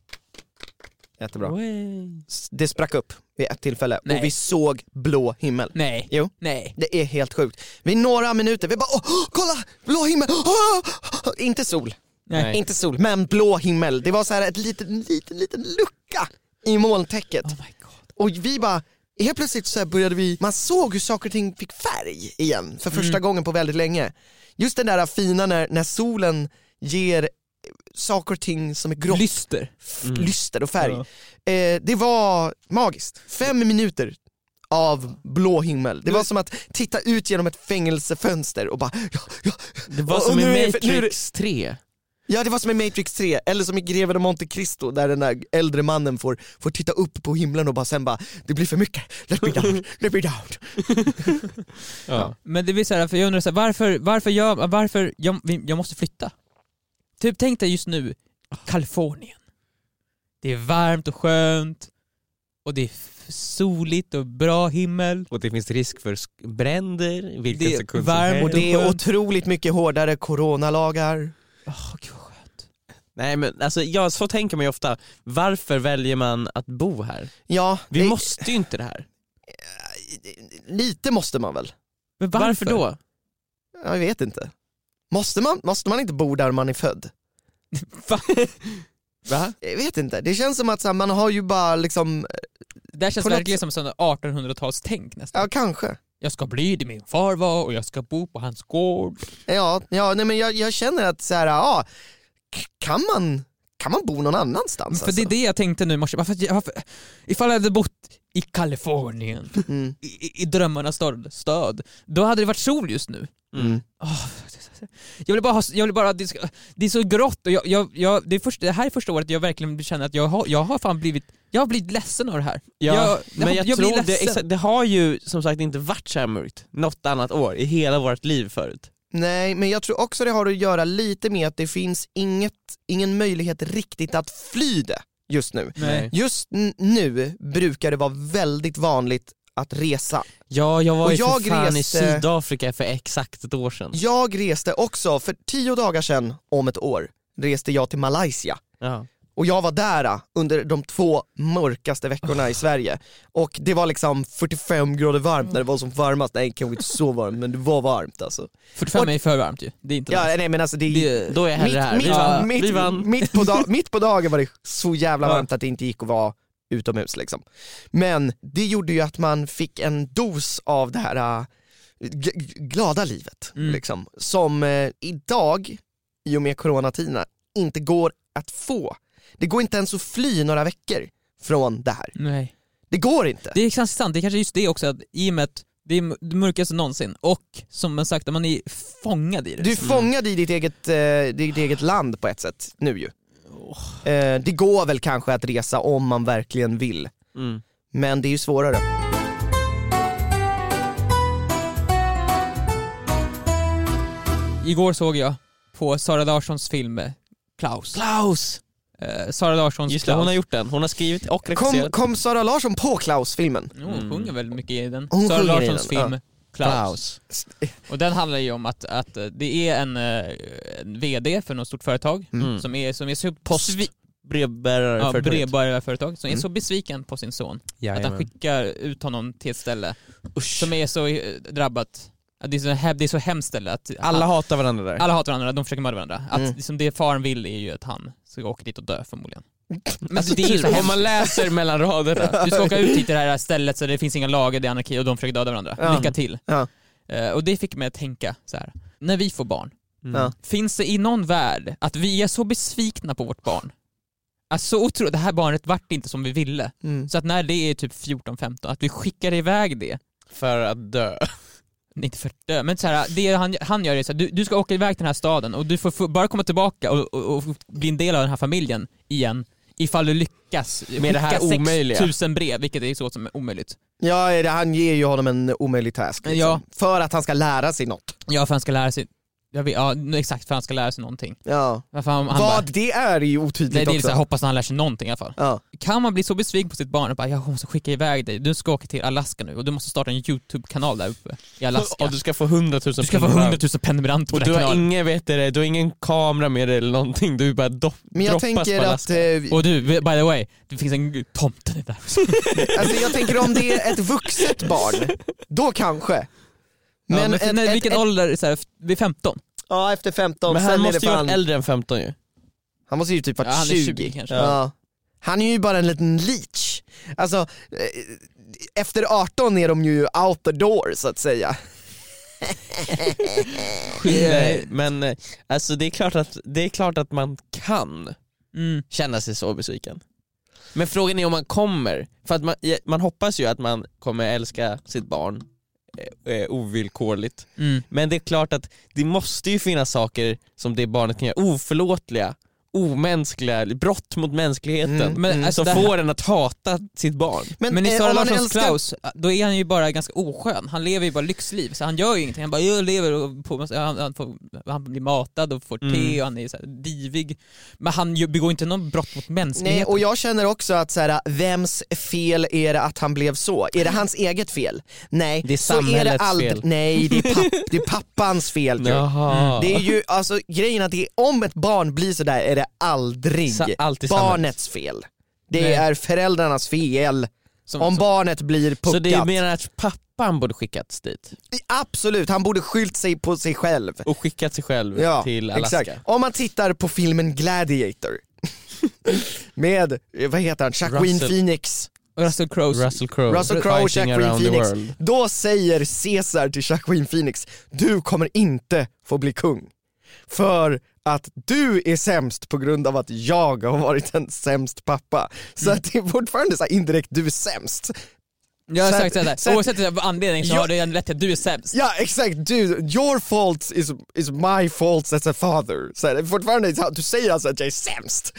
Jättebra. Way. S- Det sprack upp vid ett tillfälle Nej. och vi såg blå himmel. Nej. Jo. Nej. Det är helt sjukt. Vid några minuter, vi bara åh, åh, kolla! Blå himmel! Åh, åh, åh." Inte sol, Nej. inte sol, men blå himmel. Det var så här ett liten, liten, liten lucka i molntäcket. Oh my god. Och vi bara, helt plötsligt så här började vi, man såg hur saker och ting fick färg igen för första gången på väldigt länge. Just den där fina när, när solen ger eh, saker och ting som är grått Lyster. f- lyster och färg. Eh, det var magiskt. Fem minuter av blå himmel. Det var som att titta ut genom ett fängelsefönster och bara ja, ja, Det var Och- som och i nu är det- nu är det- Matrix 3. ja, det var som i Matrix 3 eller som i Greven och Monte Cristo där den där äldre mannen får, får titta upp på himlen och bara sen bara det blir för mycket, let me down, let me down. Ja. Men det vill säga, för jag undrar så här, varför, varför jag, varför jag, vi- jag måste flytta? Typ tänk dig just nu, Kalifornien. Det är varmt och skönt, och det är f- soligt och bra himmel. Och det finns risk för sk- bränder vilken Det är sekund varm som Och helst. det är otroligt mycket hårdare coronalagar. Åh gud vad skönt. Nej men alltså, ja, så tänker man ju ofta, varför väljer man att bo här? Ja, Vi det, måste ju inte det här. lite måste man väl? Men Varför, då? Ja, Jag vet inte. Måste man, måste man inte bo där man är född? Va? Jag vet inte, det känns som att så här, man har ju bara liksom, Det här känns På något verkligen som sådana 1800-talstänk nästan. ja kanske. Jag ska bli det min far var och jag ska bo på hans gård. Alltså, Ja, ja nej men jag, jag känner att så här, ja, k- kan man, kan man bo någon annanstans? alltså. alltså? För det är det jag tänkte nu i morse. Varför, varför, ifall jag hade bott i Kalifornien, alltså. Mm. i, i- i drömmarnas stad, stad, då hade det varit sol just nu. Mm. Åh, Jag vill bara ha, jag vill bara, det, ska, det är så grått och jag, jag, jag, det, är först, det här är första året jag verkligen känner att jag har, jag har fan blivit, jag har blivit ledsen av det här. Ja, jag, men jag, jag tror blir det, ledsen. exakt, det har ju som sagt inte varit så här mörkt något annat år i hela vårt liv förut. Nej, men jag tror också det har att göra lite med att det finns inget, ingen möjlighet riktigt att fly det just nu. Nej. Just n- nu brukar det vara väldigt vanligt att resa. Ja, jag var Och ju jag för fan i reste- Sydafrika för exakt ett år sedan. Jag reste också, för tio dagar sedan om ett år, reste jag till Malaysia. Ja. Och jag var där ah, under de två mörkaste veckorna i Sverige. Och det var liksom 45 grader varmt när det var som varmast. Nej, kanske inte så varmt, men det var varmt alltså. 45 Och- är ju för varmt ju. Det är inte Ja, nej men alltså det är det. Då är jag hellre här. mitt, vi, vann. mitt, vi vann. Mitt på, dag, mitt på dagen var det så jävla Ja. varmt att det inte gick att vara utomhus liksom. Men det gjorde ju att man fick en dos av det här äh, g- g- glada livet Mm. liksom. Som eh, idag, i och med coronatiderna, inte går att få. Det går inte ens att fly några veckor från det här. Nej. Det går inte. Det är ganska sant, det är kanske just det också att i och med att det är m- det mörkaste någonsin och som man sagt, att man är fångad i det. Mm. Du är fångad i ditt eget, eh, ditt eget land på ett sätt nu ju. Eh, det går väl kanske att resa om man verkligen vill. Mm. Men det är ju svårare. Igår såg jag på Sara Larssons film eh, Klaus. Klaus! Eh, Sara Larssons Just det, Klaus. hon har gjort den. Hon har skrivit och Kom, regisserat. kom Sara Larsson på Klaus-filmen? Jo, hon Mm. sjunger väldigt mycket i den. Hon Sara sjunger i Larssons den, film Klaus. Och den handlar ju om att, att eh, det är en, eh, en VD för något stort företag Mm. som är, som är så Post. svi- Brevbärare ja, för brevbärarföretag som är Mm. så besviken på sin son att han skickar ut honom till ett ställe Usch. som är så eh, drabbat. Att det, är så hem, det är så hemskt ställe att Alla hatar varandra där. alla hatar varandra, de försöker mörda varandra. Att Mm. liksom, det faren vill är ju att han ska åka dit och dö förmodligen. Men Alltså, det är ju typ, så hemskt. om man läser mellan raderna. Du ska åka ut hit till det här stället så det finns inga lager, det är anarki och de försöker döda varandra. Ja. Lycka till. Ja. Eh, och det fick mig att tänka så här. när vi får barn, Ja. finns det i någon värld att vi är så besvikna på vårt barn? Att så otroligt, det här barnet vart inte som vi ville. Mm. Så att när det är typ 14-15, att vi skickar iväg det. För att dö. Inte för att dö, men så här, det han, han gör är så här, du, du ska åka iväg till den här staden och du får, få- bara komma tillbaka och, och, och bli en del av den här familjen igen ifall du lyckas Med det här omöjliga. 6000 brev, vilket är så som är omöjligt. Ja, det- han ger ju honom en omöjlig task. Liksom. Ja. För att han ska lära sig något. Ja, för han ska lära sig... Jag vet, ja, nu exakt, för han ska lära sig någonting. Ja. Varför han, han Vad bara, det är är ju otydligt nej, det är också. så här, hoppas han lär sig någonting i alla fall. ja. Kan man bli så besviken på sitt barn och bara, jag måste skicka iväg dig, du ska åka till Alaska nu och du måste starta en YouTube-kanal där uppe i Alaska. Och du ska få 100 000 Du ska få 100 000 prenumeranter på Och den du här har, kanalen. ingen, vet du, det, du har ingen kamera med dig eller någonting, du bara do- Men jag droppas tänker på att, Alaska. eh, Och du, by the way, det finns en tomte där. alltså jag tänker om det är ett vuxet barn, då kanske. Men, ja, men ett, nej, ett, vilken ett, ålder, så här, f- vid 15? ja, efter 15, Men sen han är måste det ju vara fan... äldre än 15 ju. Han måste ju typ Ja, varit han är 20. 20 kanske. Ja. Han är ju bara en liten leech. Alltså, eh, efter 18 är de ju out the door så att säga. Nej, men eh, alltså det är, klart att, det är klart att man kan Mm. känna sig så besviken. Men frågan är om man kommer, för att man, ja, man hoppas ju att man kommer älska sitt barn eh, eh, ovillkorligt. Mm. Men det är klart att det måste ju finnas saker som det barnet kan göra, oförlåtliga, omänskliga, brott mot mänskligheten. Mm. Men, alltså, Som det här- får en att hata sitt barn. Men i eh, Sara om man Larssons älskar- Klaus, då är han ju bara ganska oskön. Han lever ju bara lyxliv, så han gör ju ingenting. Han bara jag lever och på, han, han, får, han blir matad och får te Mm. och han är så här divig. Men han ju- begår inte någon brott mot Nej, mänskligheten. och jag känner också att så här, vems fel är det att han blev så? Är det hans eget fel? Nej, Det är så är det samhällets aldrig. fel. Nej, det är, papp, det är pappans fel. ju. Jaha. Det är ju, alltså grejen att det, om ett barn blir sådär är det aldrig Sa- alltid barnets fel. Det Nej. är föräldrarnas fel Som- om som- barnet blir puckat. Så det är mer att pappan borde skickats dit Absolut, han borde skylt sig på sig själv. och skickat sig själv Ja, till Alaska. exakt. Om man tittar på filmen Gladiator med, eh, vad heter han, Jacqueline Russell- Phoenix. Russell Crowe. Russell Crowe. Russell Crowe och Fighting Jacqueline around the Phoenix. world. Då säger Caesar till Jacqueline Phoenix, du kommer inte få bli kung. För att du är sämst på grund av att jag har varit en sämst pappa. Så att det är fortfarande så här indirekt, du är sämst. Jag har Så sagt att- såhär, så att- oavsett vad anledning så Jag- har du en rätt till att du är sämst. Ja exakt, du, your fault is, is my fault as a father. Så här, det är fortfarande, så här, du säger alltså att jag är sämst.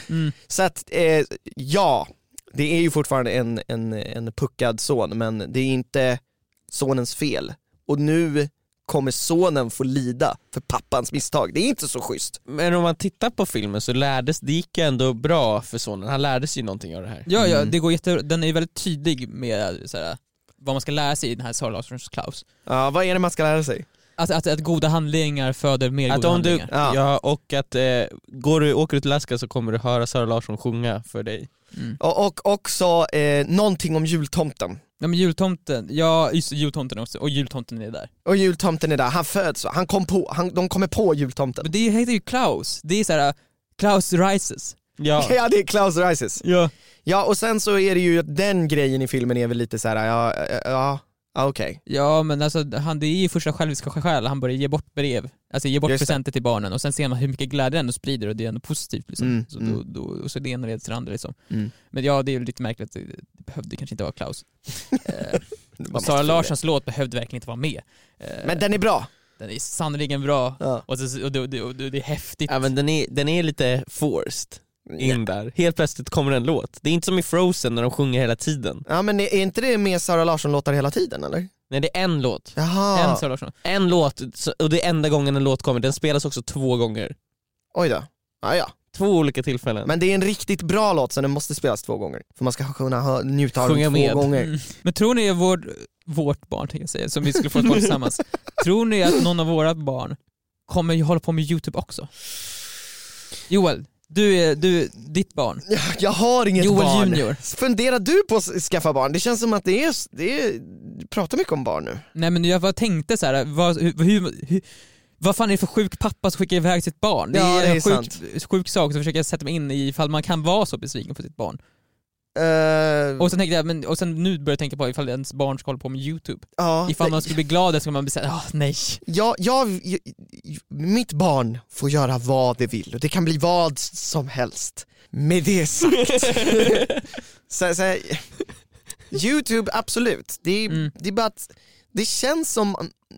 Så att, eh, ja, det är ju fortfarande en, en, en puckad son men det är inte sonens fel. Och nu kommer sonen få lida för pappans misstag. Det är inte så schysst. Men om man tittar på filmen så lärdes, det gick ju ändå bra för sonen, han lärdes ju någonting av det här. Ja, ja, Mm. det går jätte, den är ju väldigt tydlig med så här, vad man ska lära sig i den här Sara Larssons Klaus. Ja, vad är det man ska lära sig? Att, att, att goda handlingar föder mer Att goda om du, handlingar. Ja. ja. och att eh, går du, åker du till Alaska så kommer du höra Sara Larsson sjunga för dig. Mm. Och, och också eh, någonting om jultomten. Ja men jultomten, ja just det, jultomten också, och jultomten är där. Och jultomten är där, han föds, han kom på, han, de kommer på jultomten. Men det heter ju Klaus, det är så här Klaus rises. Ja. Ja det är Klaus Rises. Ja. Ja och sen så är det ju att den grejen i filmen är väl lite så här, ja, eh, ja, ja okej. Ja men alltså han, det är ju första själviska skäl, han börjar ge bort brev, alltså ge bort Just det. presenter till barnen och sen ser man hur mycket glädje den sprider och det är ändå positivt liksom. Mm, så mm. Då, då, och så det ena leder till det andra liksom. Mm. Men ja det är ju lite märkligt att det, det behövde kanske inte vara Klaus. Eh, Man och måste Sara få det. Larssons låt behövde verkligen inte vara med. Eh, Men den är bra. den är sannerligen bra Ja. och, så, och, det, och, det, och det det är häftigt. Ja men den är, den är lite forced in där. Helt plötsligt kommer en låt. Det är inte som i Frozen när de sjunger hela tiden. Ja men är inte det med Sara Larsson-låtar hela tiden eller? Nej det är en låt. Jaha, En Sara Larsson. En låt, så- och det är enda gången en låt kommer. Den spelas också två gånger. oj då. Ja, ja. Två olika tillfällen. Men det är en riktigt bra låt så den måste spelas två gånger. För man ska kunna hö- njuta av Sjunga den två med. gånger. Mm. Men tror ni vår, vårt barn, tänkte jag säga, som vi skulle få ett barn tillsammans, tror ni att någon av våra barn kommer ju hålla på med YouTube också? Joel, du är, du, ditt barn, Ja, Jag har inget Joel barn. junior. Funderar du på att s- skaffa barn? Det känns som att det är, s- det är du pratar mycket om barn nu. Nej men jag bara tänkte så här, vad, hur, hur, hur, vad fan är det för sjuk pappa som skickar iväg sitt barn? Det är, Ja, det är en sjuk, sjuk sak, så försöker jag sätta mig in i ifall man kan vara så besviken på sitt barn. Eh, Och sen tänkte jag, men, och sen nu börjar jag tänka på ifall ens barn ska hålla på med YouTube. ja, Ifall nej. man skulle bli glad så ska man bli såhär, ah nej. jag, jag, jag, mitt barn får göra vad det vill och det kan bli vad som helst. Med det sagt. så, så, Youtube, absolut. Det är, Mm. det är bara att det känns som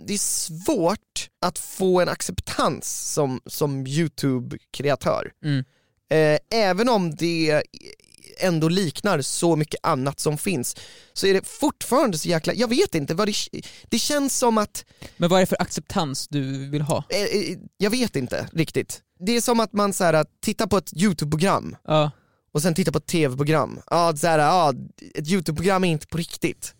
det är svårt att få en acceptans som, som Youtube-kreatör. Mm. Eh, även om det ändå liknar så mycket annat som finns så är det fortfarande så jäkla, jag vet inte, vad det, det känns som att Men vad är det för acceptans du vill ha? Eh, eh, jag vet inte riktigt. Det är som att man så här, tittar på ett YouTube-program Ja. och sen tittar på ett TV-program. Ja, så här, ja, ett YouTube-program är inte på riktigt.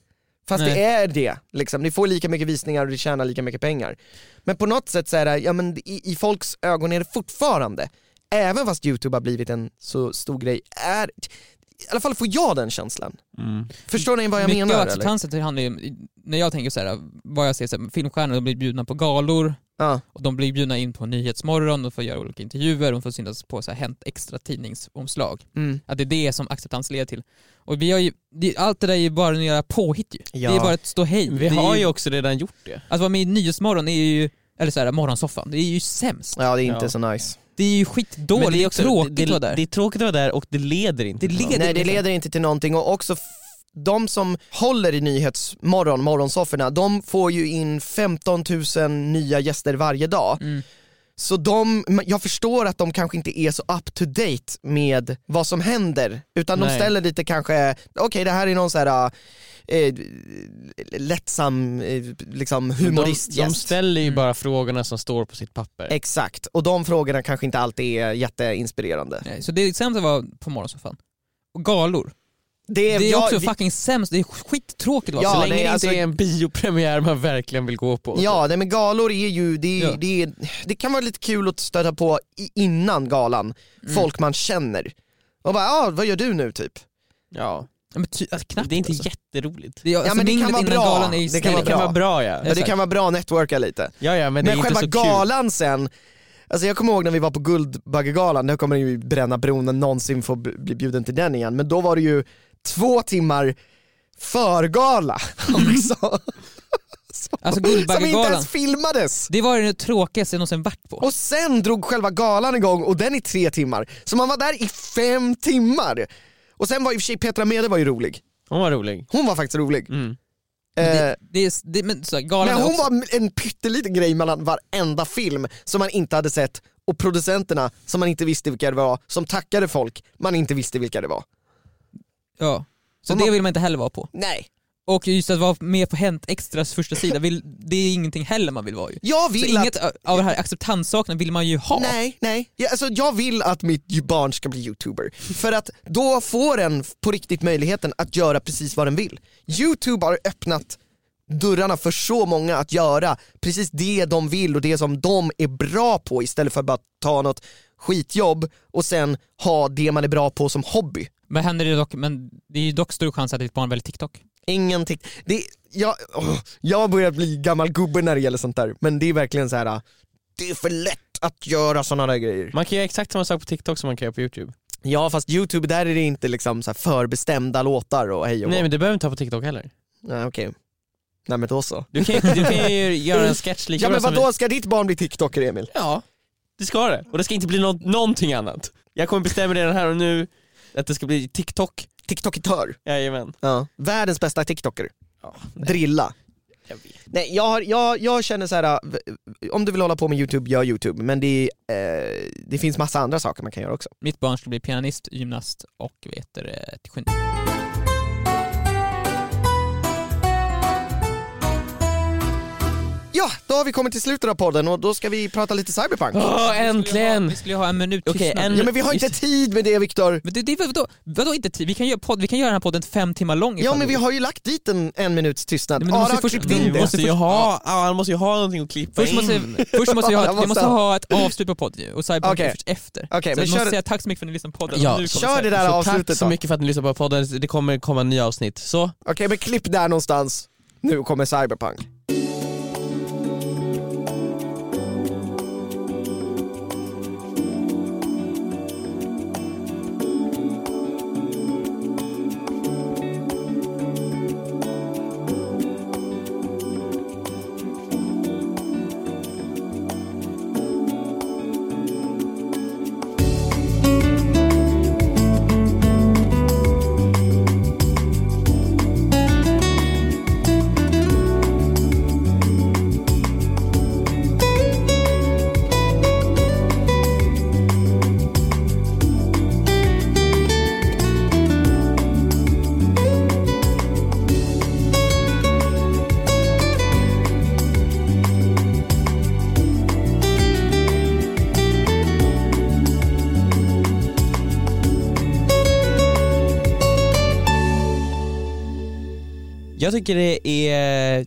Fast Nej. det är det, liksom. det får lika mycket visningar och det tjänar lika mycket pengar. Men på något sätt så är det, ja, men i, i folks ögon är det fortfarande, även fast YouTube har blivit en så stor grej, är, i alla fall får jag den känslan. Mm. Förstår ni vad jag Mycket av menar? Eller? acceptansen det handlar ju, när jag tänker så här, vad jag ser så här, filmstjärnor de blir bjudna på galor, Ja. och de blir bjudna in på Nyhetsmorgon, de får göra olika intervjuer, de får synas på så här, Hänt Extra tidningsomslag. Mm. Att det är det som acceptans leder till. Och vi har ju, det, allt det där är ju bara några påhitt ju. Ja. Det är bara ett ståhej. Vi Det är har ju ju, också redan gjort det. att vara med i Nyhetsmorgon är ju, eller så här, morgonsoffan, det är ju sämst. ja, det är inte Ja. så nice. Det är ju Men skitdåligt, det är tråkigt att vara där. Det är tråkigt att vara där och det leder inte Det till något. leder- Nej det liksom. leder inte till någonting och också f- de som håller i Nyhetsmorgon, morgonsofforna, de får ju in 15 000 nya gäster varje dag. Mm. Så de, men jag förstår att de kanske inte är så up to date med vad som händer, utan de Nej. ställer lite kanske, okej det här är någon så här eh, lättsam eh, liksom humoristgäst. De, de ställer ju bara frågorna som står på sitt papper. Exakt, och de frågorna kanske inte alltid är jätteinspirerande. Nej, så det är sämst att vara på morgonsoffan. Och galor. Det Det är jag- också Eh, vi- fucking sämst, det är skittråkigt att Ja, vara så så länge nej, det alltså- inte är en biopremiär man verkligen vill gå på. Ja, nej, men galor är ju, det, är, Ja. det, är, det kan vara lite kul att stöta på i- innan galan, folk man känner. Och bara, ja ah, vad gör du nu typ? Ja. Ja, men ty, alltså, knappt Det är inte alltså. jätteroligt. Det, är- alltså, men det kan minglet vara innan bra. Galan är ju Det kan Det stängd. vara kan vara bra ja. Ja, det Exakt. kan vara bra att networka lite. Ja, ja men, det är Men inte själva så kul. galan sen, alltså jag kommer ihåg när vi var på Guldbaggegalan, då kommer det ju bränna bron när någonsin får b- bli bjuden till den igen, men då var det ju två timmar förgala också, Alltså som inte Guldbaggegalan, ens filmades. det var ju det tråkigaste jag någonsin varit på. Och sen drog själva galan igång och den är tre timmar. Så man var där i fem timmar. Och sen var i och för sig Petra Mede var ju rolig. Hon var rolig. Hon var faktiskt rolig. Mm. Eh, det, det är, det, men så, här, galan men är hon också, var en pytteliten grej mellan varenda film som man inte hade sett och producenterna som man inte visste vilka det var, som tackade folk man inte visste vilka det var. ja. Så hon det var- vill man inte heller vara på. Nej. Och just att vara med på Hänt Extras första sida, vill, det är ingenting heller man vill vara ju. Jag Så vill att inget av det här acceptanssakerna vill man ju ha. Nej, nej. Jag, alltså, jag vill att mitt ju- barn ska bli youtuber. För att då får den f- på riktigt möjligheten att göra precis vad den vill. Youtube har öppnat dörrarna för så många att göra precis det de vill och det som de är bra på istället för att bara ta något skitjobb och sen ha det man är bra på som hobby. Men, händer det, dock, men det är ju dock stor chans att ditt barn väljer TikTok. Ingenting. Det, jag, åh, jag börjar bli gammal gubbe när det gäller sånt där, men det är verkligen så här. ah, det är för lätt att göra såna där grejer. Man kan göra exakt samma sak på TikTok som man kan göra på YouTube. Ja fast youtube där är det inte liksom så här förbestämda låtar och hej och Nej hå. men det behöver du inte ha på TikTok heller. Nej okej. Nej men då så. Du kan ju, du kan ju göra en sketch lika Ja bra men som vadå, ska ditt barn bli tiktoker Emil? Ja, det ska det. Och det ska inte bli nå- någonting annat. Jag kommer bestämma redan här och nu att det ska bli TikTok. Tiktokitör? Jajamän. Ja. Världens bästa tiktoker. Ja, Drilla. jag vet. Nej jag, har, jag, jag känner så här. äh, v- om du vill hålla på med youtube, gör youtube. Men det, är, eh, det finns massa andra saker man kan göra också. Mitt barn skulle bli pianist, gymnast och vet du, ett geni. Ja, då har vi kommit till slutet av podden och då ska vi prata lite Åh, cyberpunk. Vi skulle ju ha, äntligen! vi skulle ju ha en minut Okej, tystnad. en- Ja men vi har inte tid med det Viktor. Men det, det, är- vadå, vadå inte tid? Vi kan, göra podd, vi kan göra den här podden fem timmar lång Ja ifall men du vi vill. har ju lagt dit en, en minuts tystnad. Nej, men du Ara måste har först- klippt du in det. måste- Måste ju först- ha, ja, han måste ju ha någonting att klippa Först in. måste, först måste vi ha, vi Jag måste måste- ha ett avslut på podden ju, och Cyberpunk Okej. är först efter. Okej, så men vi måste kör, säga tack så mycket för att ni lyssnade på podden. Ja, Och nu kommer kör det Cyberpunk. där så avslutet tack så då. mycket för att ni lyssnar på podden, det kommer komma nya avsnitt. Så, Okej men klipp där någonstans, nu kommer cyberpunk. jag tycker det är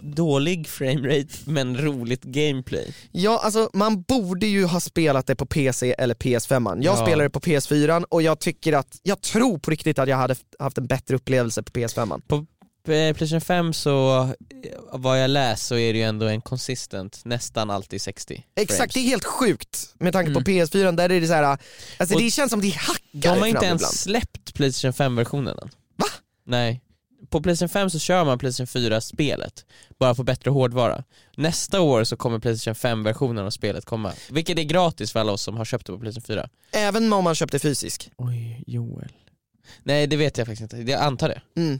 dålig framerate men roligt gameplay. Ja, alltså man borde ju ha spelat det på PC eller PS5. Jag Ja. spelade det på PS4 och jag tycker att, jag tror på riktigt att jag hade haft en bättre upplevelse på PS5. Eh, Playstation 5 så, eh, vad jag läst så är det ju ändå en consistent, nästan alltid 60 Exakt, det frames. är helt sjukt med tanke på Mm. PS4, där är det så här, alltså Och det känns som det hackar De har fram inte ens ibland. släppt Playstation 5-versionen än. Va? Nej. På Playstation 5 så kör man Playstation 4-spelet, bara för bättre hårdvara. Nästa år så kommer Playstation 5-versionen av spelet komma, vilket är gratis för alla oss som har köpt det på Playstation 4. Även om man köpte fysisk. Oj, Joel. Nej det vet jag faktiskt inte, jag antar det. Mm.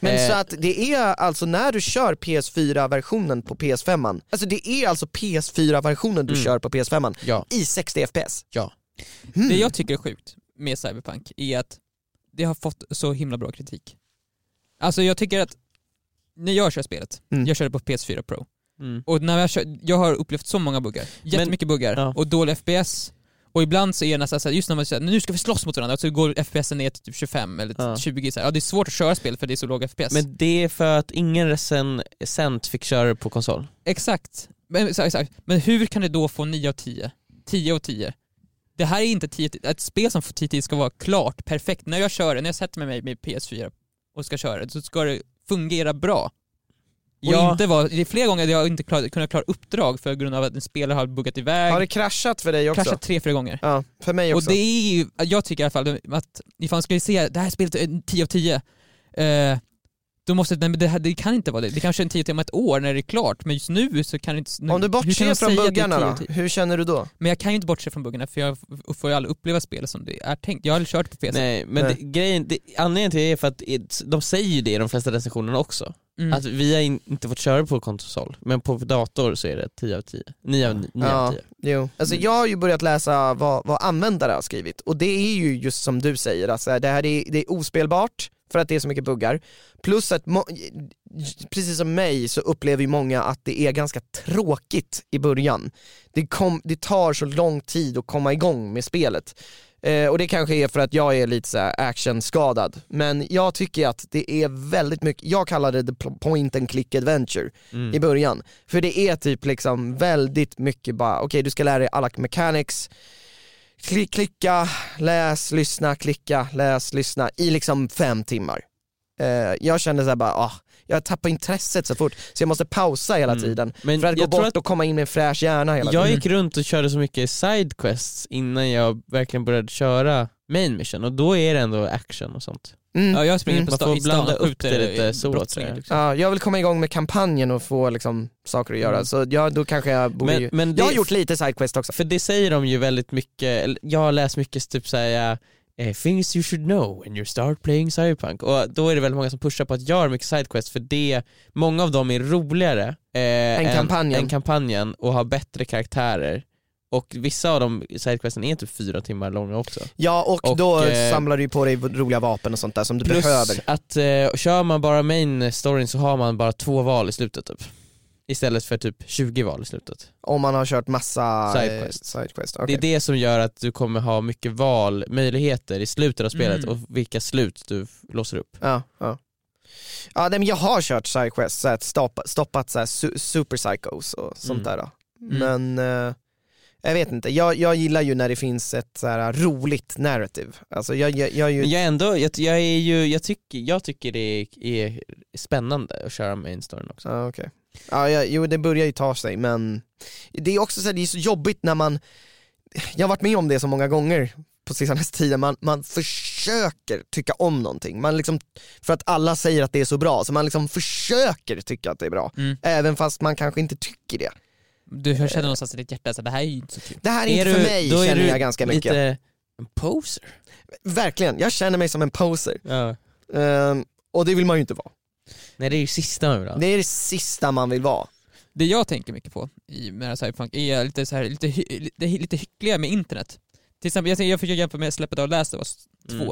Men Eh. så att det är alltså när du kör PS4-versionen på PS5, alltså det är alltså PS4-versionen du Mm. kör på PS5 Ja. i 60 FPS. Ja. Mm. Det jag tycker är sjukt med Cyberpunk är att det har fått så himla bra kritik. Alltså jag tycker att, när jag kör spelet, Mm. jag kör det på PS4 Pro, Mm. och när jag, kör, jag har upplevt så många buggar, jättemycket buggar, ja. och dålig FPS, och ibland så är det nästan såhär, just när man säger nu ska vi slåss mot varandra, och så går FPSen ner till typ 25 eller Ja. 20 så här. Ja, det är svårt att köra spel för det är så låg FPS. Men det är för att ingen recensent fick köra det på konsol. Exakt. Men, så- exakt. Men hur kan det då få 9 av 10? 10 av 10? Det här är inte 10 Ett spel som får 10 av 10 ska vara klart, perfekt. När jag kör det, när jag sätter mig med PS4 och ska köra det, så ska det fungera bra. Och Ja. inte vara, det är flera gånger jag inte klar, kunnat klara uppdrag för grund av att en spelare har buggat Har iväg, det kraschat för dig också? kraschat tre, fyra gånger. Ja, för mig Och också. det är ju, jag tycker i alla fall att ifall man skulle se det här spelet är en 10 av 10, eh, då måste, nej, men det, här, det kan inte vara det. Det kanske är en 10 av 10 om ett år när det är klart, men just nu så kan det inte... Om du hur kan man bortser från säga att det är 10 buggarna av då, 10? hur känner du då? Men jag kan ju inte bortse från buggarna för jag f- får ju aldrig uppleva spelet som det är tänkt. Jag har aldrig kört på PC. Nej men Nej. Det, grejen, det, anledningen till det är för att det- de säger ju det i de flesta recensionerna också. Mm. Att vi har in, inte fått köra på konsol, men på dator så är det 10 av 10. 9 av 9. Ja, av 10. jo. Alltså Mm. jag har ju börjat läsa vad, vad användare har skrivit och det är ju just som du säger, alltså, det här är, det är ospelbart för att det är så mycket buggar. Plus att, må- precis som mig, så upplever ju många att det är ganska tråkigt i början. Det, kom, det tar så lång tid att komma igång med spelet. Eh, och det kanske är för att jag är lite så här actionskadad. Men jag tycker att det är väldigt mycket, jag kallar det the point and click adventure Mm. i början. För det är typ liksom väldigt mycket bara, okej du ska lära dig alla mechanics, Kli- klicka, läs, lyssna, klicka, läs, lyssna i liksom fem timmar. Eh, jag kände såhär bara, ah, jag tappar intresset så fort så jag måste pausa hela Mm. tiden Men för att gå jag tror bort att och komma in med en fräsch hjärna hela jag tiden. gick runt och körde så mycket sidequests innan jag verkligen började köra main mission och då är det ändå action och sånt. Mm. Ja, jag springer Mm. på Man sta- får i stan blanda och upp det skjuter lite eh, så, brottslingar, tror jag. liksom. Ja, jag vill komma igång med kampanjen och få liksom, saker att göra, Mm. så ja, då kanske jag borde Men, ju... men det, Jag har gjort lite sidequest också. För det säger de ju väldigt mycket, eller jag har läst mycket typ såhär eh, things you should know when you start playing Cyberpunk och då är det väldigt många som pushar på att göra mycket sidequests för det, många av dem är roligare eh, än, kampanjen. än kampanjen och har bättre karaktärer och vissa av de sidequesten är typ fyra timmar långa också. Ja, och, Och, då eh, samlar du ju på dig roliga vapen och sånt där som du Plus behöver. att eh, kör man bara main storyn så har man bara två val i slutet typ. Istället för typ 20 val i slutet. Om man har kört massa Sidequest. sidequest. sidequest. okej. Det är det som gör att du kommer ha mycket valmöjligheter i slutet av spelet Mm. och vilka slut du f- låser upp. Ja, ja. ja nej, men jag har kört sidequest, så här, stoppa, stoppat så här, su- super psychos och sånt Mm. där. Då. Mm. Men eh, jag vet inte, jag, jag gillar ju när det finns ett så här, roligt narrative. Alltså, jag, jag, jag är ju Men jag ändå, jag, jag är ju, jag tycker, jag tycker det är, är spännande att köra main storyn också. Ja okej. Ja, ja, jo det börjar ju ta sig men det är också så, här, det är så jobbigt när man, jag har varit med om det så många gånger på senaste tiden, man, man försöker tycka om någonting. Man liksom, för att alla säger att det är så bra, så man liksom försöker tycka att det är bra. Mm. Även fast man kanske inte tycker det. Du jag känner någonstans i ditt hjärta att det här är ju inte så kul. Det här är, inte för mig då är känner du jag ganska mycket. Lite en poser. Verkligen, jag känner mig som en poser. Ja. Ehm, och det vill man ju inte vara. Nej det är ju sista nu då. Det är det sista man vill vara. Det jag tänker mycket på i med det här cyberpunk är lite, så här, lite, hy- lite, lite hyckliga med internet. Till exempel, jag, jag försöker jämföra med släppet av Last of Us 2. Mm.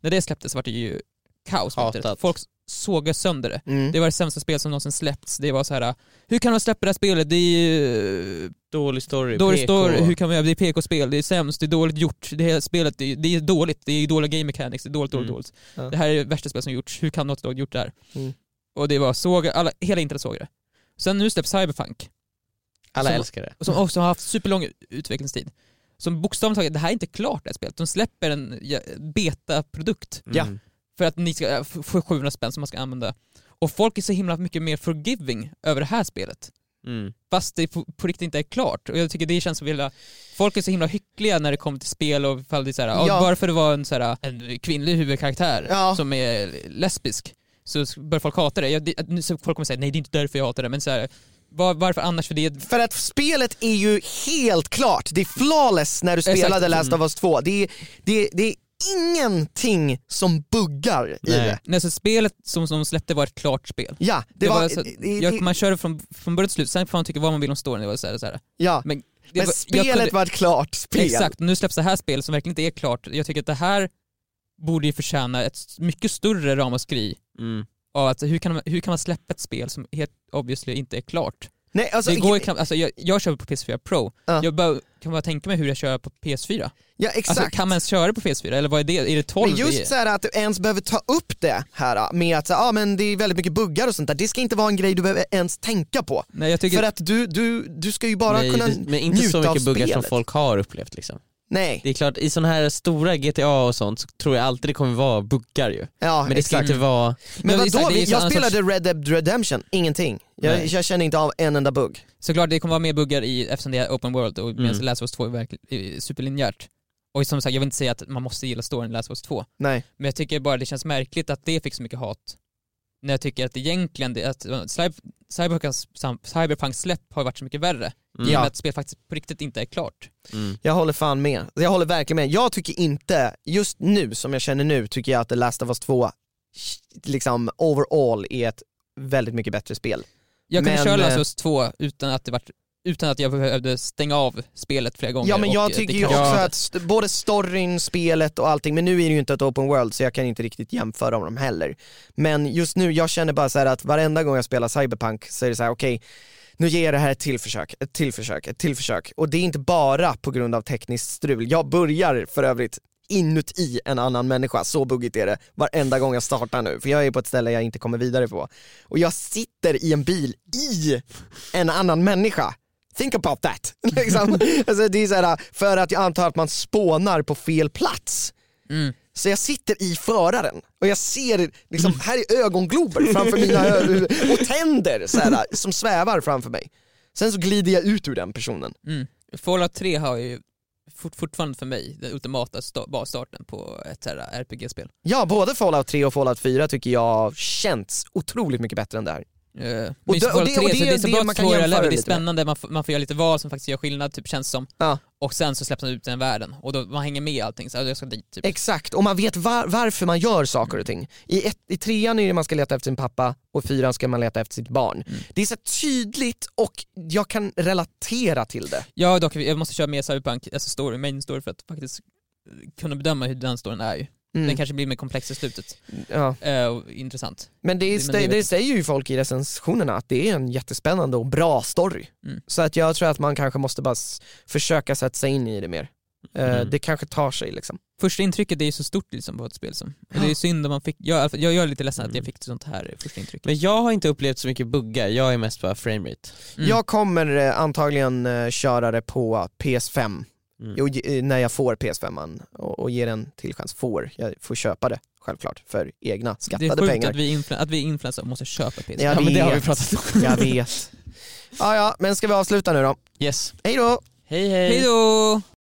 När det släpptes var det ju kaos. på Hatat. internet. Folk sågade sönder det. Mm. Det var det sämsta spel som någonsin släppts. Det var så här, hur kan de släppa det här spelet? Det är ju... Dålig story, Dålig PK. story, hur kan man göra? Det är PK-spel, det är sämst, det är dåligt gjort, det här spelet det är, det är dåligt, det är dåliga game mechanics, det är dåligt, dåligt, Mm. dåligt. Ja. Det här är det värsta spel som gjorts, hur kan något lag gjort det här? Mm. Och det var såg, alla, hela internet såg det. Sen nu släpps Cyberpunk, Alla som- älskar det. och som också har haft superlång utvecklingstid. Som bokstavligt taget, det här är inte klart det här spelet. De släpper en ja, beta-produkt Ja. Mm. för att ni ska äh, f- få 700 spänn som man ska använda. Och folk är så himla mycket mer forgiving över det här spelet Mm. fast det på, på riktigt inte är klart. Och jag tycker det känns som hela, folk är så himla hyckliga när det kommer till spel och ifall det är så här, ja. Ja. bara för det var en, så här, äh, en kvinnlig huvudkaraktär Ja. som är lesbisk så s- börjar folk hata det. Jag, det nu- så folk kommer säga nej det är inte därför jag hatar det men så här, var, varför annars för det är För att spelet är ju helt klart, det är flawless när du Exakt. spelade Last Mm. of Us 2. Det är, det är, det är ingenting som buggar i Nej. det. Nej, så spelet som som de släppte var ett klart spel. Ja, det, Det var... var så, det- jag, det- man körde från, från början till slut, sen får man tycka vad man vill om storyn. Det var så här, så här. ja. Men, det Men var- jag spelet kunde- var ett klart spel. Exakt, nu släpps det här spelet som verkligen inte är klart. Jag tycker att det här borde ju förtjäna ett mycket större ramaskri Mm. av att hur kan, man, hur kan man släppa ett spel som helt obviously inte är klart? Nej, alltså, det går ju knappt, alltså jag, jag kör på PS4 Pro, Ja. jag bara, kan bara tänka mig hur jag kör på PS4. ja, exakt. Alltså, kan man ens köra på PS4 eller vad är det? Är det 12? men Det är- just så här att du ens behöver ta upp det här med att så här, ah, men det är väldigt mycket buggar och sånt där, det ska inte vara en grej du behöver ens tänka på. Nej jag tycker, För att du, du, du ska ju bara Nej, kunna det, men inte så njuta av mycket buggar som spelet. folk har upplevt liksom. Nej, Det är klart, i sådana här stora GTA och sånt så tror jag alltid det kommer vara buggar ju. ja Men det ska exakt. inte vara Men Ja, vadå, exakt, det är Vi- ju så- alltså- jag annars- spelade Red Dead Redemption, ingenting. Jag, Nej. jag känner inte av en enda bugg. såklart det kommer vara mer buggar i, eftersom det är open world och medan Mm. Last of Us 2 är verkligen, är superlinjärt. Och som sagt, jag vill inte säga att man måste gilla storyn i Last of Us 2, Nej. Men jag tycker bara det känns märkligt att det fick så mycket hat. När jag tycker att egentligen, det, att uh, cyber- Cyberpunks- sam- Cyberpunks släpp har varit så mycket värre. Mm. I och Ja. med att spelet faktiskt på riktigt inte är klart. Mm. Jag håller fan med. Jag håller verkligen med. Jag tycker inte, just nu som jag känner nu, tycker jag att The Last of Us 2 liksom overall är ett väldigt mycket bättre spel. Jag kunde Men, köra eh, Last of Us 2 utan att det vart utan att jag behövde stänga av spelet flera gånger. Ja men och jag att det tycker ju också kanske- att st- både storyn, spelet och allting, men nu är det ju inte ett open world så jag kan inte riktigt jämföra dem heller. Men just nu, jag känner bara så här att varenda gång jag spelar Cyberpunk så är det så här: okej, nu ger jag det här ett till försök, ett till försök, ett till försök. Och det är inte bara på grund av tekniskt strul. Jag börjar för övrigt inuti en annan människa, så buggigt är det varenda gång jag startar nu. För jag är på ett ställe jag inte kommer vidare på. Och jag sitter i en bil i en annan människa. Think about that! Liksom. alltså, det är så här, för att jag antar att man spånar på fel plats. Mm. Så jag sitter i föraren och jag ser, liksom, här är ögonglober framför mina ö- och tänder så här, som svävar framför mig. Sen så glider jag ut ur den personen. Mm. Fallout 3 har ju fort, fortfarande för mig den ultimata sta- basstarten på ett så här RPG-spel. Ja, både Fallout 3 och Fallout 4 tycker jag känns otroligt mycket bättre än det här. Uh, Och och det, det- och Fallout 3, det- och det så är det är så det bra man att kan svåra jämföra level, det lite är med. spännande, man får, man får göra lite val som faktiskt gör skillnad, typ känns som. Ja. Och sen så släpps man ut i den världen, och då, man hänger med i allting, så här, jag ska dit typ. Exakt, och man vet var, varför man gör saker och ting. I, ett, I trean är det man ska leta efter sin pappa och i fyran ska man leta efter sitt barn. Det är så tydligt och jag kan relatera till det. Ja dock, jag måste köra mer Cyberpunk, alltså story, main story för att faktiskt eh, kunna bedöma hur den storyn är ju. Mm. Den kanske blir mer komplex i slutet. ja. Eh, och intressant. Men det, är, men det det, vet jag. säger ju folk i recensionerna att det är en jättespännande och bra story. Mm. Så att jag tror att man kanske måste bara s- försöka sätta sig in i det mer. Eh, Mm. Det kanske tar sig liksom. Första intrycket det är ju så stort liksom på ett spel som. Och det är synd om man fick, jag, i alla fall- jag, jag är lite ledsen Mm. att jag fick sånt här första intryck. Men jag har inte upplevt så mycket buggar, jag är mest bara framerate. Mm. Jag kommer eh, antagligen eh, köra det på PS5 Mm. Jo, ge- eh, när jag får PS5 och, och ger en till chans. Får, jag får köpa det självklart för egna det är skattade sjukt pengar. att vi, influ- att vi influencers måste köpa PS. Jag ja men det har vi vet. pratat om. Jag vet. Ja, ja, men ska vi avsluta nu då? Yes. Hej då! Hej hej. Hej då!